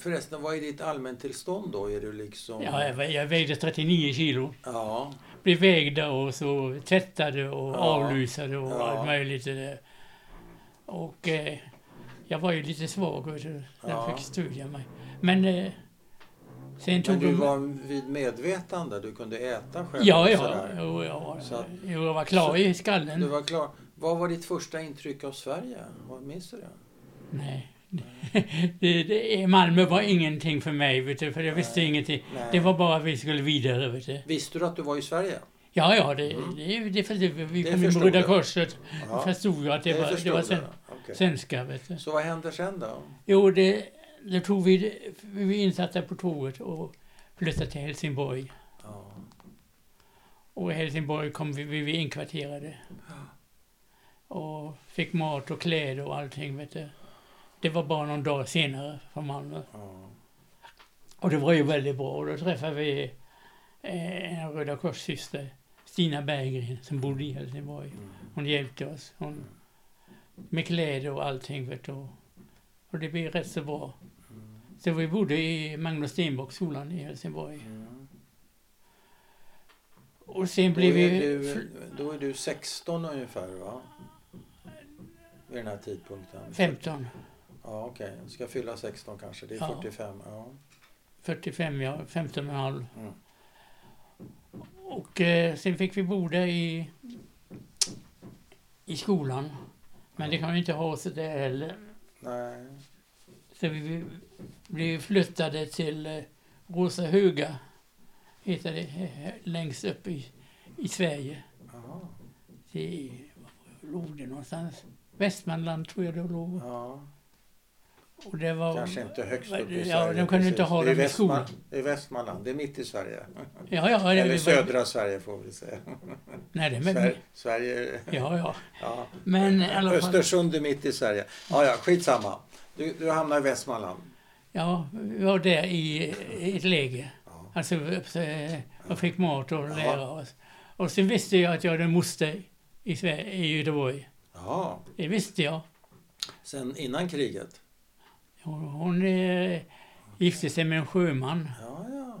B: Förresten, vad är ditt allmäntillstånd då? Är du liksom...
A: Ja, jag, vä- jag vägde 39 kilo.
B: ja,
A: Blev vägda och så tvättade och
B: Ja.
A: avlysade och
B: Ja.
A: allt möjligt. det där. Och eh, jag var ju lite svag, vet du. Jag
B: Ja.
A: fick studera mig. Men eh, sen tog
B: Men du
A: de-
B: var vid medvetande? Du kunde äta själv?
A: Ja,
B: och
A: ja.
B: sådär.
A: Jo, jag var,
B: Så att-
A: jo, jag var klar
B: så-
A: i
B: Du
A: skallen.
B: var klar. Vad var ditt första intryck av Sverige? Vad minns du det?
A: Nej. [LAUGHS] Det, det, Malmö var ingenting för mig, vet du, för jag visste
B: Nej.
A: ingenting.
B: Nej.
A: Det var bara att vi skulle vidare, vet du.
B: Visste du att du var i Sverige?
A: Ja, ja, det,
B: Mm.
A: det, det, det vi
B: Det
A: kom in
B: förstod
A: med Röda
B: du.
A: Korset.
B: Ja,
A: Då förstod jag att det, var, det
B: förstod
A: var
B: du.
A: sen,
B: Okej.
A: svenska, vet du.
B: Så vad hände sen då?
A: Jo, det, det tog vi, vi var insatta på tåget och flyttade till Helsingborg.
B: Ja.
A: Och i Helsingborg kom vi, vi, vi inkvarterade. Och fick mat och kläder och allting, vet du. Det var bara någon dag senare från Malmö.
B: Ja.
A: Och det var ju väldigt bra. Och då träffade vi eh, en Röda Kors-syster, Stina Berggren, som bodde i Helsingborg.
B: Mm.
A: Hon hjälpte oss. Hon, med kläder och allting, vet du. Och det blev rätt så bra. Så vi bodde i Magnus Stenbock-skolan i Helsingborg.
B: Mm.
A: Och sen
B: Då,
A: blev vi...
B: är du, då är du 16 ungefär va? Vid den här tidpunkten?
A: 15,
B: Ja, okej. Du ska fylla 16 kanske. Det är
A: Ja.
B: 45. Ja.
A: 45, ja, 15 och en halv.
B: Mm.
A: Och eh, sen fick vi bo där i, i skolan. Men
B: Mm.
A: det kan vi inte ha så där heller.
B: Nej.
A: Så vi blev flyttade till eh, Rosa Höga, heter det, eh, längst upp i, i Sverige.
B: Ja.
A: Det var låg det någonstans? Västmanland tror jag det låg.
B: ja.
A: Och det var...
B: Kanske inte högst
A: Ja,
B: upp i
A: de
B: Sverige.
A: kunde
B: precis.
A: inte ha
B: Det är
A: dem i
B: Västman-
A: skolan.
B: Det är Västmanland. Det är mitt i Sverige.
A: Ja, ja. det-
B: Eller
A: det-
B: södra Sverige får vi säga.
A: Nej, det men,
B: Sver- Sverige...
A: Ja, ja.
B: Ja.
A: Men i alla fall...
B: Östersund är mitt i Sverige. Ja, ja, skitsamma. Du, du hamnar i Västmanland.
A: Ja, vi var där i ett läge.
B: Ja.
A: Alltså, eh, och fick mat och
B: Ja.
A: lära oss. Och sen visste jag att jag hade en moster i, Sve- i Göteborg.
B: Jaha.
A: Det visste jag.
B: Sen innan kriget?
A: Hon, hon eh, gifte sig med en sjöman.
B: Ja, ja.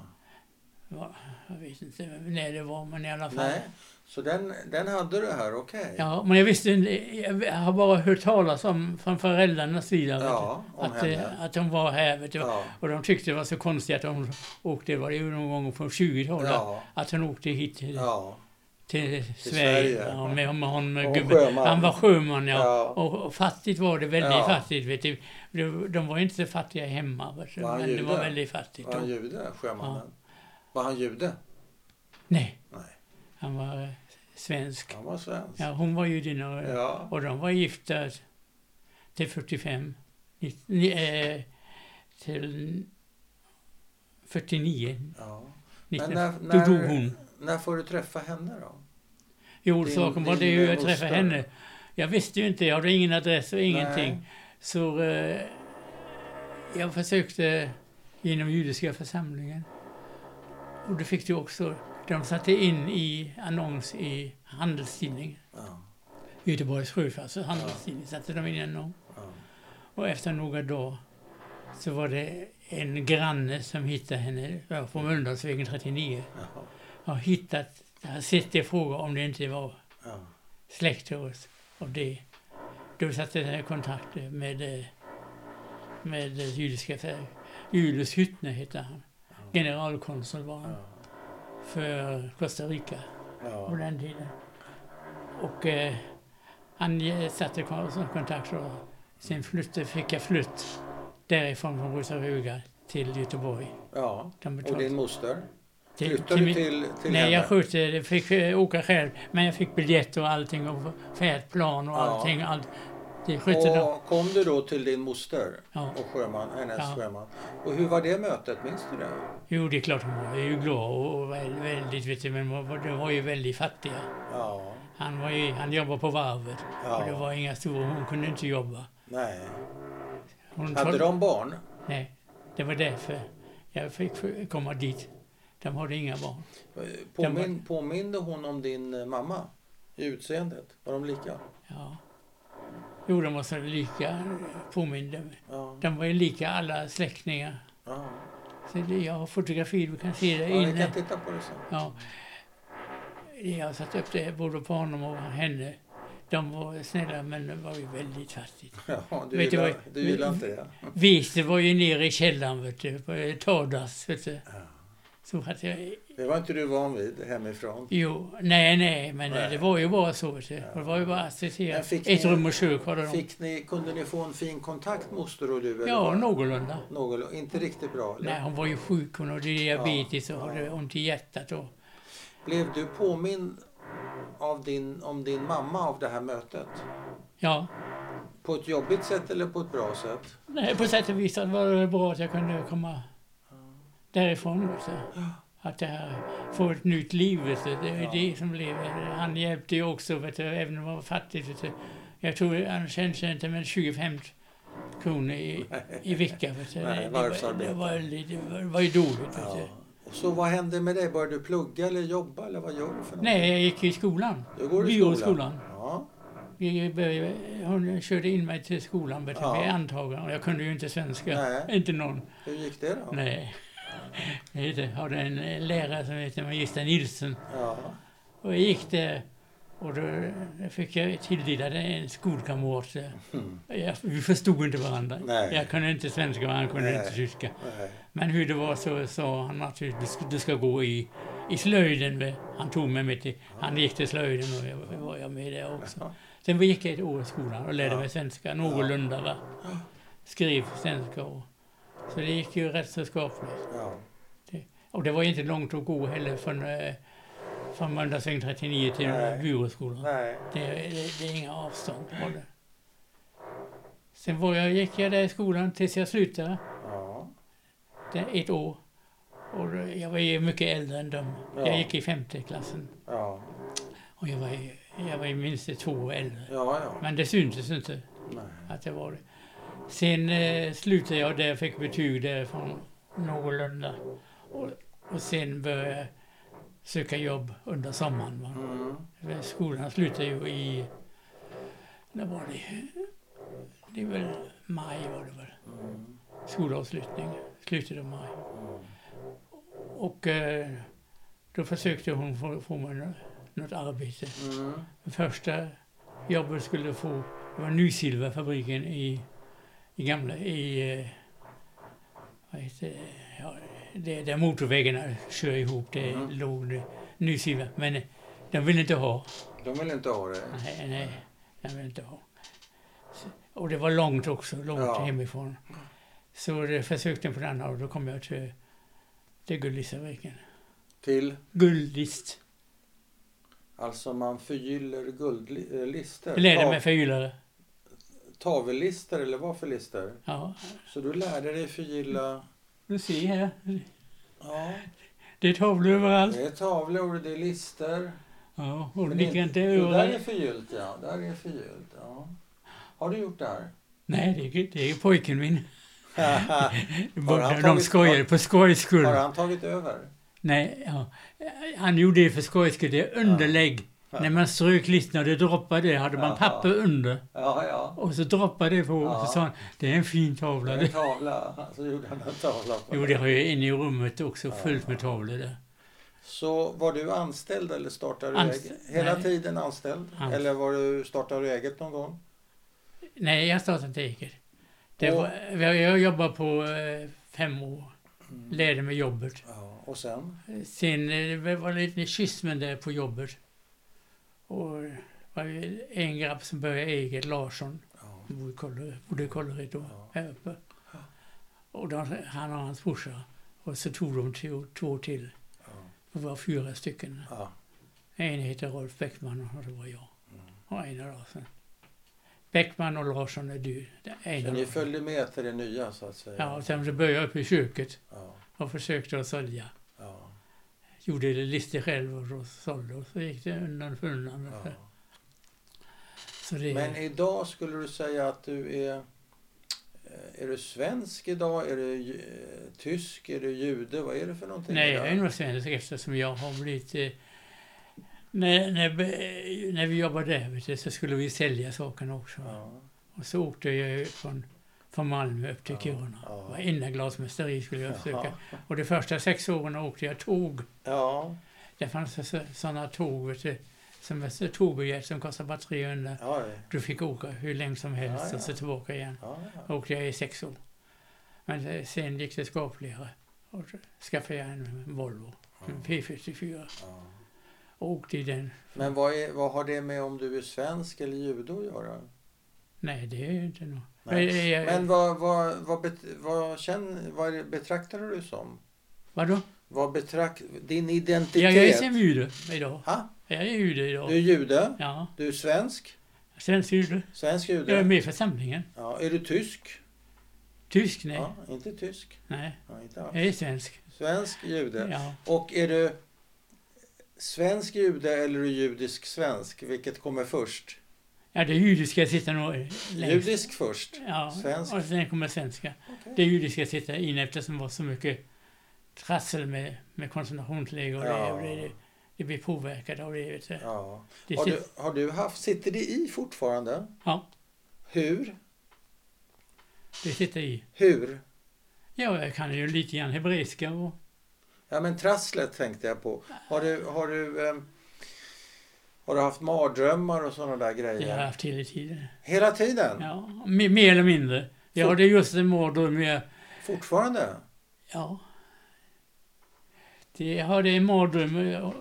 A: Ja, jag vet inte när det var, men i alla fall.
B: Nej. Så den, den hade du här, okej.
A: Ja, men jag visste inte- Jag har bara hört talas om från föräldrarnas sida. vet
B: Ja,
A: du,
B: om
A: att,
B: henne.
A: eh, att hon var här. Vet du.
B: Ja.
A: Och de tyckte det var så konstigt att hon åkte, det var ju någon gång på 20-talet,
B: Ja.
A: att hon åkte hit till,
B: Ja.
A: till Sverige.
B: Sverige,
A: Ja,
B: ja.
A: med, med honom, med
B: Och
A: gubben.
B: sjöman.
A: Han var sjöman, ja.
B: Ja.
A: Och, och fattigt var det, väldigt
B: Ja.
A: fattigt. Vet du. De, de var inte så fattiga hemma, vet du.
B: Var han
A: men det var
B: jude?
A: väldigt fattigt.
B: Var
A: då.
B: han jude, sjömannen? Var han jude?
A: Nej,
B: Nej,
A: han var eh, svensk.
B: han var svensk.
A: Ja, hon var judinna och,
B: Ja.
A: och de var gifta till 45. Ni- ni- eh, till 49.
B: ja. Men
A: 19,
B: när,
A: då dog
B: när,
A: hon.
B: när får du träffa henne då?
A: Jo,
B: din-
A: saken var det
B: din,
A: ju
B: eh,
A: att träffa
B: moster.
A: henne. Jag visste ju inte, jag hade ingen adress och ingenting.
B: Nej.
A: Så eh, jag försökte inom judiska församlingen. Och det fick du också. De satte in i annons i Handelstidningen,
B: Ja,
A: Göteborgs Sjöfarts Handelstidning, satte de in i annons.
B: ja.
A: Och efter några dagar så var det en granne som hittade henne ja, på Mölndalsvägen 39.
B: Jaha.
A: Jag har hittat, jag har sett det fråga om det inte var
B: Ja.
A: släkt till oss. Och det, då satte jag i kontakt med, eh, med det judiska färg. Julius Hyttner hette han. Generalkonsul var han
B: Ja.
A: för Costa Rica på
B: Ja.
A: den tiden. Och eh, han eh, satte kon- som kontakt och sen flyttade, fick jag flytt därifrån från Rosaruga till Göteborg.
B: ja.
A: De
B: Och
A: betalade-
B: din moster?
A: till-
B: Flyttade
A: till
B: du
A: min-
B: till, till
A: Nej,
B: henne?
A: jag skötte det. Fick eh, åka själv. Men jag fick biljett och allting och färdplan och
B: Ja.
A: allting. Allt. Det skötte de.
B: Och kom du då till din moster
A: Ja.
B: och sjöman, hennes
A: Ja.
B: sjöman? Och hur var det mötet, minns du det?
A: Jo, det är klart hon var ju glad och och vä- väldigt, vet du, men de var- de var ju väldigt fattiga.
B: Ja,
A: Han, var ju, han jobbade på varvet
B: Ja.
A: och det var inga stora, hon kunde inte jobba.
B: nej.
A: Hon
B: Hade
A: tog-
B: de barn?
A: Nej, det var därför jag fick f- komma dit. De hade inga barn.
B: Eh, Påmin, påminde hon om din eh, mamma i utseendet? Var de lika?
A: Ja. Jo, de var så lika, påminde mig.
B: Ja.
A: De var ju lika alla släktingar.
B: ja.
A: Så det, jag har fotografier, du kan se det
B: ja vi
A: inne.
B: kan titta på det sen. [LAUGHS]
A: Ja. Jag har satt upp det både på honom och henne. De var snälla men det var ju väldigt fattigt.
B: Ja, du
A: Vet du
B: gillar,
A: vad-
B: du gillar
A: [LAUGHS]
B: inte det?
A: Visst, det var ju nere i källaren vet du, på eh, Tordas vet du. Så att jag,
B: Det var inte du van vid hemifrån.
A: jo, nej, nej, men eh,
B: Nej.
A: det var ju bara så vet du. Det var ju bara att se
B: Men fick
A: Ett
B: ni-
A: rum och kök hade de.
B: Fick ni, kunde ni få en fin kontakt moster och du? eller
A: Ja,
B: var det
A: någorlunda.
B: någorlunda- inte riktigt bra? Eller?
A: Nej, hon var ju sjuk, hon hade diabetes och
B: Ja,
A: hade ont i hjärtat och
B: Blev du påmind av din, om din mamma av det här mötet?
A: ja.
B: På ett jobbigt sätt eller på ett bra sätt?
A: Nej, på sätt och vis var det bra att jag kunde komma därifrån. Också. Att det här får ett nytt liv. Vet du. Det är
B: Ja.
A: det som lever. Han hjälpte ju också, vet du, även om han var fattig. Vet du. Jag tror han kände inte med 25 kronor i, i veckan. Vet du.
B: [LAUGHS] Nej,
A: det, var,
B: varvsarbete.
A: det, var, lite- det, var, det var ju dåligt. Vet du.
B: Ja. Och så vad hände med dig? Började du plugga eller jobba eller vad gör du för något?
A: Nej, jag gick i skolan.
B: Du går i
A: Byråskolan.
B: Ja.
A: Vi började, hon körde in mig till skolan, vet du,
B: Ja.
A: ja. antagen. Jag kunde ju inte svenska.
B: Nej.
A: Inte någon.
B: Hur gick det då?
A: Nej. Jag heter- hade en eh, lärare som hette Magister Nilsson.
B: Ja.
A: Och jag gick där och då fick jag tilldelad en skolkamrat. eh.
B: Mm.
A: Jag, vi förstod inte varandra.
B: Nej.
A: Jag kunde inte svenska och han kunde
B: Nej.
A: inte tyska.
B: Nej. Men
A: Men hur det var så sa han att du, du ska- du ska gå i, i slöjden. vet. Han tog mig med till, han gick till slöjden och jag var- var jag med där också. Sen gick jag ett år i skolan och lärde
B: Ja.
A: mig svenska någorlunda. Va? Skrev svenska och så det gick ju rätt så skapligt.
B: Ja.
A: Och det var ju inte långt att gå heller från, eh, från Mölndalsvägen 39 till
B: Nej.
A: byråskolan.
B: Nej.
A: Det, det, det är inga avstånd. var det. Sen var jag, gick jag där i skolan tills jag slutade,
B: Ja.
A: där ett år. Och då- jag var ju mycket äldre än dem.
B: Ja.
A: Jag gick i femte klassen
B: Ja.
A: och jag var, ju- jag var ju minst två år äldre.
B: Ja, ja.
A: Men det syntes inte
B: Nej.
A: att det var det. Sen eh, slutade jag där, fick betyg därifrån någorlunda. Och, och sen började jag söka jobb under sommaren. Va?
B: Mm.
A: För Skolan slutade ju i, när var det? Det är väl maj var det väl.
B: Mm.
A: Skolavslutning, slutet av maj. Och eh, då försökte hon få, få mig nå- något arbete.
B: Mm.
A: Det första jobbet skulle få det var Nysilverfabriken i, i gamla, i, eh, vad heter det, ja, det, där motorvägarna kör ihop, det
B: Mhm.
A: låg det, Nysilver. Men eh, De ville inte ha.
B: De vill inte ha dig.
A: Nej, nej, jag vill inte ha. Så- Och det var långt också, långt
B: Ja.
A: hemifrån. Så det försökte jag på den här och då kom jag till, till Gullistaviken.
B: Till,
A: Guldist.
B: alltså man förgyller guldlister.
A: Jag lärde mig förgyllare.
B: Tavellister eller vad för lister?
A: Ja,
B: Så du lärde dig förgylla,
A: du ser här.
B: ja,
A: Det är tavlor överallt.
B: det är tavlor, det är lister.
A: Ja, och
B: Men det-
A: likadant
B: Det där är
A: överallt.
B: förgyllt ja, där är förgyllt. Ja. Har du gjort det [LAUGHS] här?
A: Nej, det är, det är pojken min.
B: Har han
A: De, de
B: tagit-
A: skojar på skojs skull.
B: Har han tagit över?
A: Nej, ja. Han gjorde det för skojs skull. Det är underlägg.
B: Ja.
A: När man strök listan och det droppade, hade man
B: Ja.
A: papper under.
B: Ja, ja.
A: Och så droppade det på och
B: Ja.
A: så sa han, det är en fin
B: Det
A: tavla.
B: är en
A: Det.
B: tavla. Så gjorde han en tavla på
A: Jo,
B: det.
A: det har jag inne i rummet också,
B: Ja.
A: fullt med tavlor där.
B: Så var du anställd eller startade du
A: Anst-
B: eget? Hela
A: nej.
B: tiden anställd?
A: Anst-
B: Eller var du, startade du eget någon gång?
A: Nej, jag startade inte eget. Det
B: Och-
A: var, jag jag jobbade på eh, fem år, lärde mig jobbet.
B: Ja, och sen?
A: Sen eh, det var lite schismen där på jobbet. Och det var ju en grabb som började eget, Larsson,
B: Ja.
A: Han bodde i Kållered- bodde i Kållered då,
B: Ja.
A: här uppe. Och de, han och hans brorsa. Och så tog de två, två till.
B: Ja.
A: Det var fyra stycken.
B: Ja.
A: En heter Rolf Bäckman och det var jag.
B: Mm.
A: Och Einar Larsson. Bäckman och Larsson är du. Det är
B: Så
A: Einar
B: ni
A: Larsson.
B: följde med till det nya så att säga?
A: Ja, och sen så började jag upp i köket
B: ja,
A: och försökte att sälja.
B: ja,
A: Gjorde listor själv och så sålde och så gick det undan för undan.
B: ja.
A: Så Mm. det,
B: Men idag skulle du säga att du är... eh, Är du svensk idag? Är du eh, tysk? Är du jude? Vad är det för någonting?
A: nej,
B: idag?
A: jag är nog svensk eftersom jag har blivit... Eh, när, när, eh, när vi jobbade där vet du, så skulle vi sälja sakerna också.
B: Ja,
A: Och så åkte jag ju från, från Malmö upp till
B: Ja,
A: Kiruna.
B: ja.
A: Varenda glasmästeri skulle jag
B: ja.
A: försöka. Och de första sex åren åkte jag tåg.
B: ja,
A: Det fanns sådana tåg, vet du, som ett tågbiljett som kostade bara 300.
B: ja, det-
A: Du fick åka hur länge som helst
B: Ja, ja.
A: och så tillbaka igen.
B: ja, ja.
A: Då åkte jag i sex år. Men eh, sen gick det skapligare. Och då skaffade jag en Volvo, en P44.
B: ja.
A: Och åkte i den.
B: Men vad, är, vad har det med om du är svensk eller jude att göra?
A: Nej, det är ju inte något.
B: Nej.
A: Eh, eh,
B: Men vad, vad, vad, bet, vad, känn, vad är det- betraktar du dig som?
A: Vadå?
B: Vad betrakt, din identitet?
A: Ja, jag är sen jude idag.
B: Ha?
A: Jag är jude idag.
B: Du är jude,
A: Ja,
B: du är svensk,
A: svensk jude.
B: svensk
A: Jag är
B: jude.
A: med i församlingen.
B: Ja, är du tysk?
A: Tysk, nej.
B: Ja, inte tysk.
A: Nej,
B: Ja, inte alls.
A: jag är svensk.
B: Svensk jude.
A: Ja.
B: Och är du svensk jude eller är du judisk svensk? Vilket kommer först?
A: ja, det judiska sitter nog längst.
B: Judisk först.
A: Ja,
B: Svensk.
A: och sen kommer svenska.
B: Okej.
A: Det judiska sitter in eftersom det var så mycket trassel med, med koncentrationsläger och det,
B: Ja.
A: och det, det blir påverkat av det. Vet du.
B: Ja.
A: det
B: Har
A: sit-
B: du, har du haft, sitter det i fortfarande?
A: Ja,
B: Hur?
A: det sitter i.
B: Hur?
A: Ja, jag kan ju lite grann hebreiska och...
B: Ja men trasslet tänkte jag på. Har du, har du, ehm, har du haft mardrömmar och sådana där
A: Det har jag
B: grejer?
A: haft hela tiden.
B: Hela tiden?
A: Ja, me- mer eller mindre. Jag
B: Så-
A: hade just en mardröm jag
B: Fortfarande?
A: Ja. Det hade en mardröm. Jag-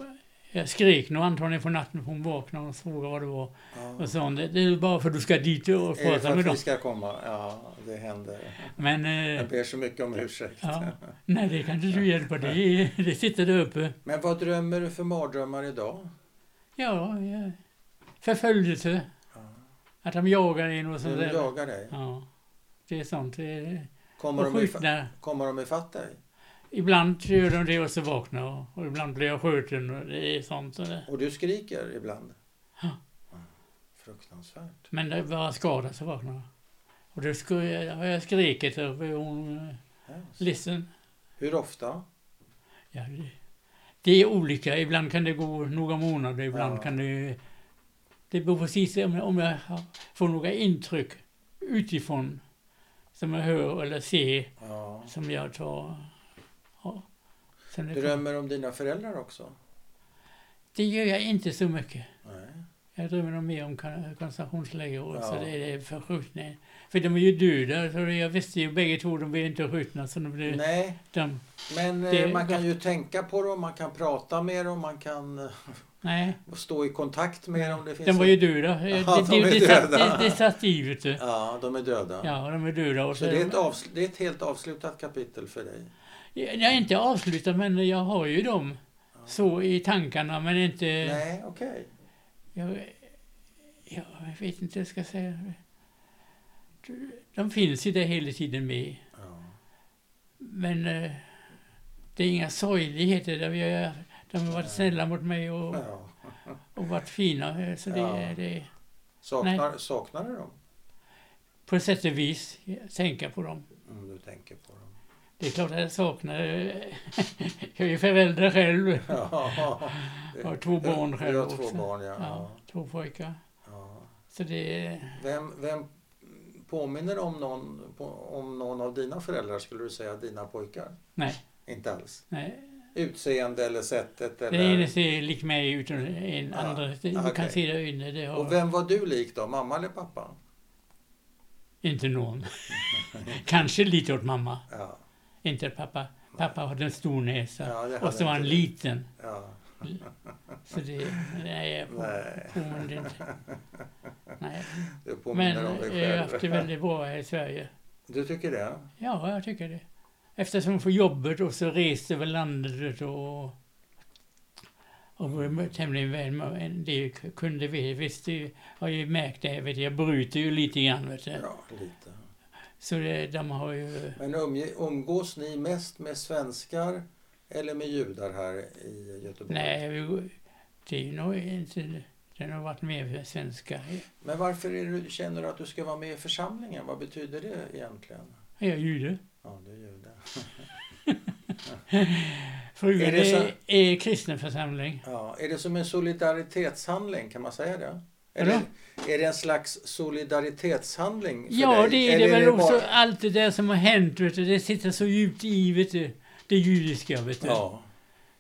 A: Jag skrek nog antagligen på natten för hon vaknade och frågade vad det var.
B: Ja.
A: Och sa hon, det det är bara för att du ska dit och
B: Är det
A: prata
B: för
A: med
B: att
A: dem.
B: vi ska komma? Ja, det händer.
A: Men,
B: Jag
A: eh,
B: ber så mycket om ursäkt.
A: ja. Nej, det kan inte du hjälpa. Det, det sitter där uppe.
B: Men vad drömmer du för mardrömmar idag?
A: Ja, ja. förföljelse.
B: Ja.
A: Att de jagar en och sånt
B: Hur de
A: där.
B: jagar dig?
A: Alltså, Ja. Det är sånt. Det är,
B: Kommer
A: och
B: de, ifa-
A: skjutna.
B: kommer de ifatt dig?
A: Ibland gör de det och så vaknar jag. Och ibland blir jag skjuten och det är sånt. Och det.
B: Och du skriker ibland?
A: Ja.
B: Mm. Fruktansvärt.
A: Men det var skada så vaknade jag. Och då sku- har jag skrikit och hon eh,
B: Hemskt.
A: ledsen.
B: Hur ofta?
A: Ja, det- det är olika. Ibland kan det gå några månader, ibland
B: Ja.
A: kan det... Det beror precis om jag, om jag har- får några intryck utifrån som jag hör eller ser
B: Ja.
A: som jag tar... Ja. Som det,
B: Drömmer om dina föräldrar också?
A: det gör jag inte så mycket.
B: Nej.
A: Jag drömmer nog mer om kon- koncentrationsläger och så
B: Ja.
A: det är det förskjutningen. För de är ju döda, så jag visste ju bägge två, de blev inte skjutna så de blev...
B: Nej,
A: De,
B: men eh,
A: Det-
B: man kan ju tänka på dem, man kan prata med dem, man kan eh,
A: nej,
B: stå i kontakt med dem. Det finns
A: Mm. de var
B: en-
A: ju döda.
B: Ja,
A: det,
B: de
A: det,
B: är
A: det, satt,
B: döda.
A: det, det satt i, vet du.
B: Ja, de är döda.
A: Ja, de är döda. Och
B: Så
A: så
B: det är, ett avs- det är ett helt avslutat kapitel för dig?
A: Jag har inte avslutat, men jag har ju dem så i tankarna, men inte...
B: Nej, okej.
A: Jag, jag vet inte hur jag ska säga. De finns ju där hela tiden med.
B: Ja.
A: Men eh, det är inga sorgligheter. De, gör- de har varit snälla mot mig och,
B: Ja.
A: och varit fina. eh, Så det,
B: Ja.
A: det,
B: Saknar, saknar du dem?
A: på ett sätt och vis, tänka på dem.
B: Om du tänker
A: [LAUGHS]
B: på dem.
A: Det är klart att jag saknar... eh, [LAUGHS] jag är ju förälder själv.
B: Ja.
A: Jag har två barn själv
B: Du har två
A: också.
B: barn, ja.
A: Ja,
B: ja.
A: två pojkar.
B: ja.
A: Så det är...
B: Vem, vem påminner om någon, på- om någon av dina föräldrar, skulle du säga, dina pojkar?
A: Nej.
B: Inte alls?
A: Nej,
B: Utseende eller sättet
A: den ene
B: eller...
A: ser lik mig ut och en
B: Ja,
A: andra. Du kan
B: okej.
A: se det inne. Det har...
B: Och vem var du lik då? Mamma eller pappa?
A: Inte
B: [LAUGHS]
A: någon. Kanske lite åt mamma,
B: Ja.
A: inte åt pappa. Pappa hade en stor näsa
B: Ja, det hade
A: och så var han
B: inte du.
A: liten.
B: ja.
A: Så det... Nej, jag på-
B: Nej.
A: påminner
B: [LAUGHS]
A: inte. Nej.
B: Du
A: Men eh,
B: påminner om dig
A: jag har haft det
B: själv.
A: väldigt bra här i Sverige.
B: Du tycker det?
A: Ja, jag tycker det. Eftersom jag får jobbet och så reste över landet och... Och var tämligen väl med- en del kunde vi. Visst, jag har ju märkt det. Vet du, jag bryter ju lite grann, vet du.
B: Ja, lite.
A: Så det, de har ju...
B: Men umge, umgås ni mest med svenskar eller med judar här i Göteborg?
A: Nej, vi- det är ju nog inte... Den har varit mer för svenska.
B: Men varför är du, känner du att du ska vara med i församlingen? Vad betyder det egentligen?
A: Jag är jude.
B: Ja, du är jude.
A: Frugan
B: Är
A: är,
B: det så-
A: är kristen församling.
B: Ja, är det som en solidaritetshandling? Kan man säga det? Är,
A: Vadå?
B: det, är det en slags solidaritetshandling för
A: Ja,
B: dig?
A: det är
B: Eller
A: det väl också.
B: bara-
A: Allt det där som har hänt, vet du, det sitter så djupt i, vet du. Det judiska, vet du.
B: Ja,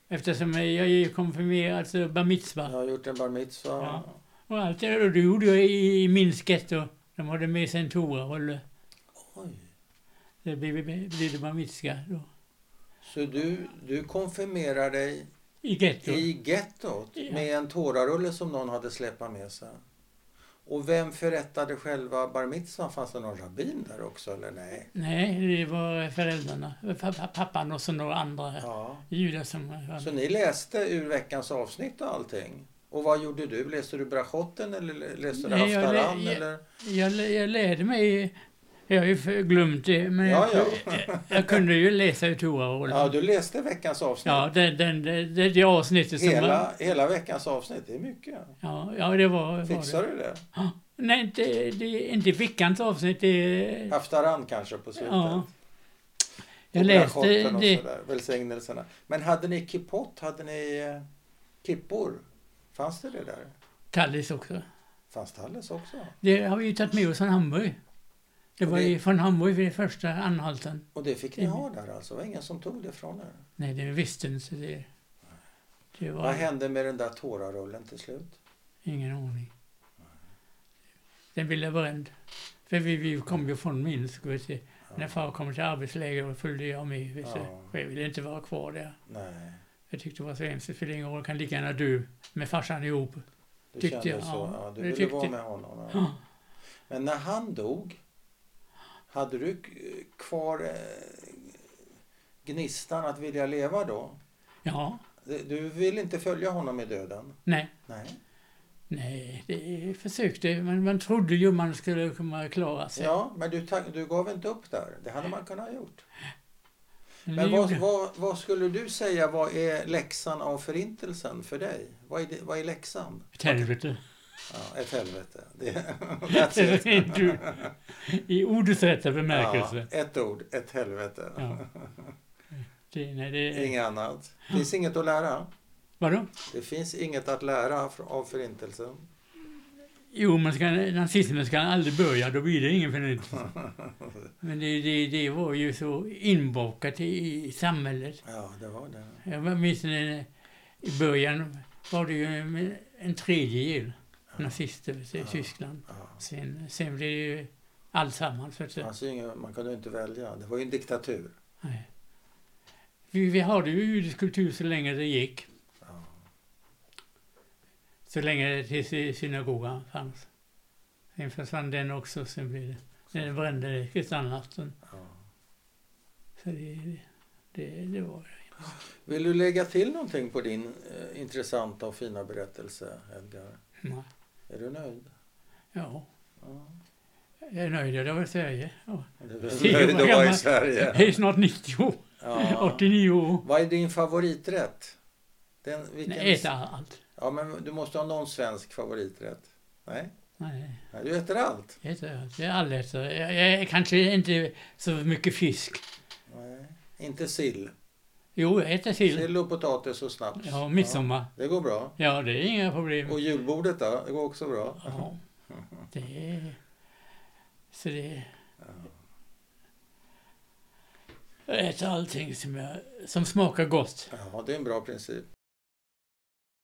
A: Eftersom jag är ju konfirmerad, alltså bar
B: jag
A: mitzvah.
B: har gjort en bar mitzvah.
A: Ja. Och allt det där, och det gjorde jag i, i Minsk getto. De hade med sig en toarolle.
B: Oj.
A: Det blev, blev det bar mitzvah då.
B: Så du, du konfirmerar dig
A: I getto.
B: I gettot?
A: Ja.
B: Med en tårarulle som någon hade släpat med sig? Och vem förrättade själva bar mitzvah? Fanns det någon rabbin där också eller nej?
A: Nej, det var föräldrarna. Pa- pa- Pappan och så några andra
B: Ja.
A: judar som... var-
B: Så ni läste ur veckans avsnitt och allting? Och vad gjorde du? Läste du brachotten eller läste du
A: Nej, jag lä-
B: haftaran?
A: jag-
B: eller?
A: Jag, lä- jag lärde mig... Jag har ju för- glömt det, men
B: Ja,
A: jag,
B: ja.
A: jag, [LAUGHS] jag kunde ju läsa ur toarollen.
B: Ja,
A: Ja,
B: du läste veckans avsnitt?
A: den, den, det, det, det avsnittet som... Var,
B: hela, hela veckans avsnitt? Det är mycket.
A: ja, ja, det var... var
B: Fixar
A: det.
B: du det?
A: Nej, inte, det, inte veckans avsnitt. Det,
B: Haftaran kanske på slutet?
A: ja.
B: Och
A: Jag läste
B: brachotten och
A: det.
B: sådär, välsignelserna. Men hade ni kippot? Hade ni eh, kippor? Fanns det det där?
A: Tallis också.
B: Fanns Talles också?
A: Det har vi ju tagit med oss från Hamburg. Det var
B: Och det-
A: ju från Hamburg vid första anhalten.
B: Och det fick ni
A: Mm.
B: ha där alltså? Det var ingen som tog det från er?
A: Nej, det visste inte så det... Det var...
B: Vad hände med den där tårarullen till slut?
A: Ingen aning. Den blev bränd. För vi, vi kom ju från Minsk, vet du. När far kom till arbetsläger följde jag med, vet du.
B: Ja.
A: För jag ville inte vara kvar där.
B: Nej,
A: Jag tyckte det var så hemskt, det spelar ingen roll, kan lika gärna dö med farsan ihop.
B: du
A: Tyckte
B: kände
A: jag,
B: så.
A: ja.
B: Ja,
A: Det
B: du ville
A: tyckte-
B: vara med honom. Ja.
A: Ja.
B: Men när han dog, hade du k- kvar eh, gnistan att vilja leva då?
A: Ja,
B: Du vill inte följa honom i döden?
A: nej,
B: Nej.
A: nej, det försökte, men man trodde ju man skulle kunna klara sig.
B: Ja, men du, ta- du gav inte upp där. Det hade man kunnat ha gjort.
A: Men
B: Men
A: det
B: vad,
A: gjorde-
B: vad, vad skulle du säga, vad är läxan av förintelsen för dig? Vad är, det, vad är läxan?
A: Ett helvete.
B: Ja, ett helvete. Det,
A: Det
B: [LAUGHS] that's
A: är [LAUGHS]
B: it.
A: du, I ordets rätta
B: Ja,
A: bemärkelse.
B: ett ord, ett helvete.
A: Ja. Det, nej, det,
B: [LAUGHS] Inget annat. Det finns inget att lära.
A: vadå?
B: Det finns inget att lära fr-
A: [LAUGHS]
B: av förintelsen.
A: Jo, man ska, nazismen ska aldrig börja, då blir det ingen förnyelse. Men det, det, det var ju så inbakat i, i samhället.
B: Ja, det var det.
A: Jag minns när, i början var det ju en, en tredjedel nazister vet du, i
B: Ja.
A: Tyskland.
B: Ja.
A: Sen, sen blev det ju allsammans. Vet du.
B: Alltså, ingen- man kunde ju inte välja. Det var ju en diktatur.
A: Nej. Vi, vi hade ju judisk kultur så länge det gick.
B: Ja.
A: Så länge det till sy- synagogan fanns. Sen försvann den också. Sen blev det, den brände det kristallnatten.
B: Ja.
A: Så det, det, det var det.
B: Vill du lägga till någonting på din eh, intressanta och fina berättelse, Edgar?
A: Nej.
B: Är du nöjd?
A: Ja,
B: Ja.
A: jag är nöjd. Jag var i Sverige. Ja.
B: Är
A: [LAUGHS]
B: du
A: Tio år
B: nöjd att vara i
A: gammal. [LAUGHS] Jag
B: Sverige?
A: är snart 90 år.
B: Ja.
A: 89 år.
B: Vad är din favoriträtt? Den, vilken...
A: Nej, äta allt.
B: Ja, men du måste ha någon svensk favoriträtt. Nej,
A: Nej.
B: Nej du äter allt.
A: Jag äter allt. Jag är allätare. Jag, jag är kanske inte så mycket fisk.
B: Nej. Inte sill.
A: Jo, jag äter sill.
B: Sill och potatis och snaps.
A: Ja, midsommar.
B: Ja, det går bra.
A: Ja, det är inga problem.
B: Och julbordet då? Det går också bra.
A: Ja, det är... Så det... Jag äter allting som, jag, som smakar gott.
B: Ja, det är en bra princip.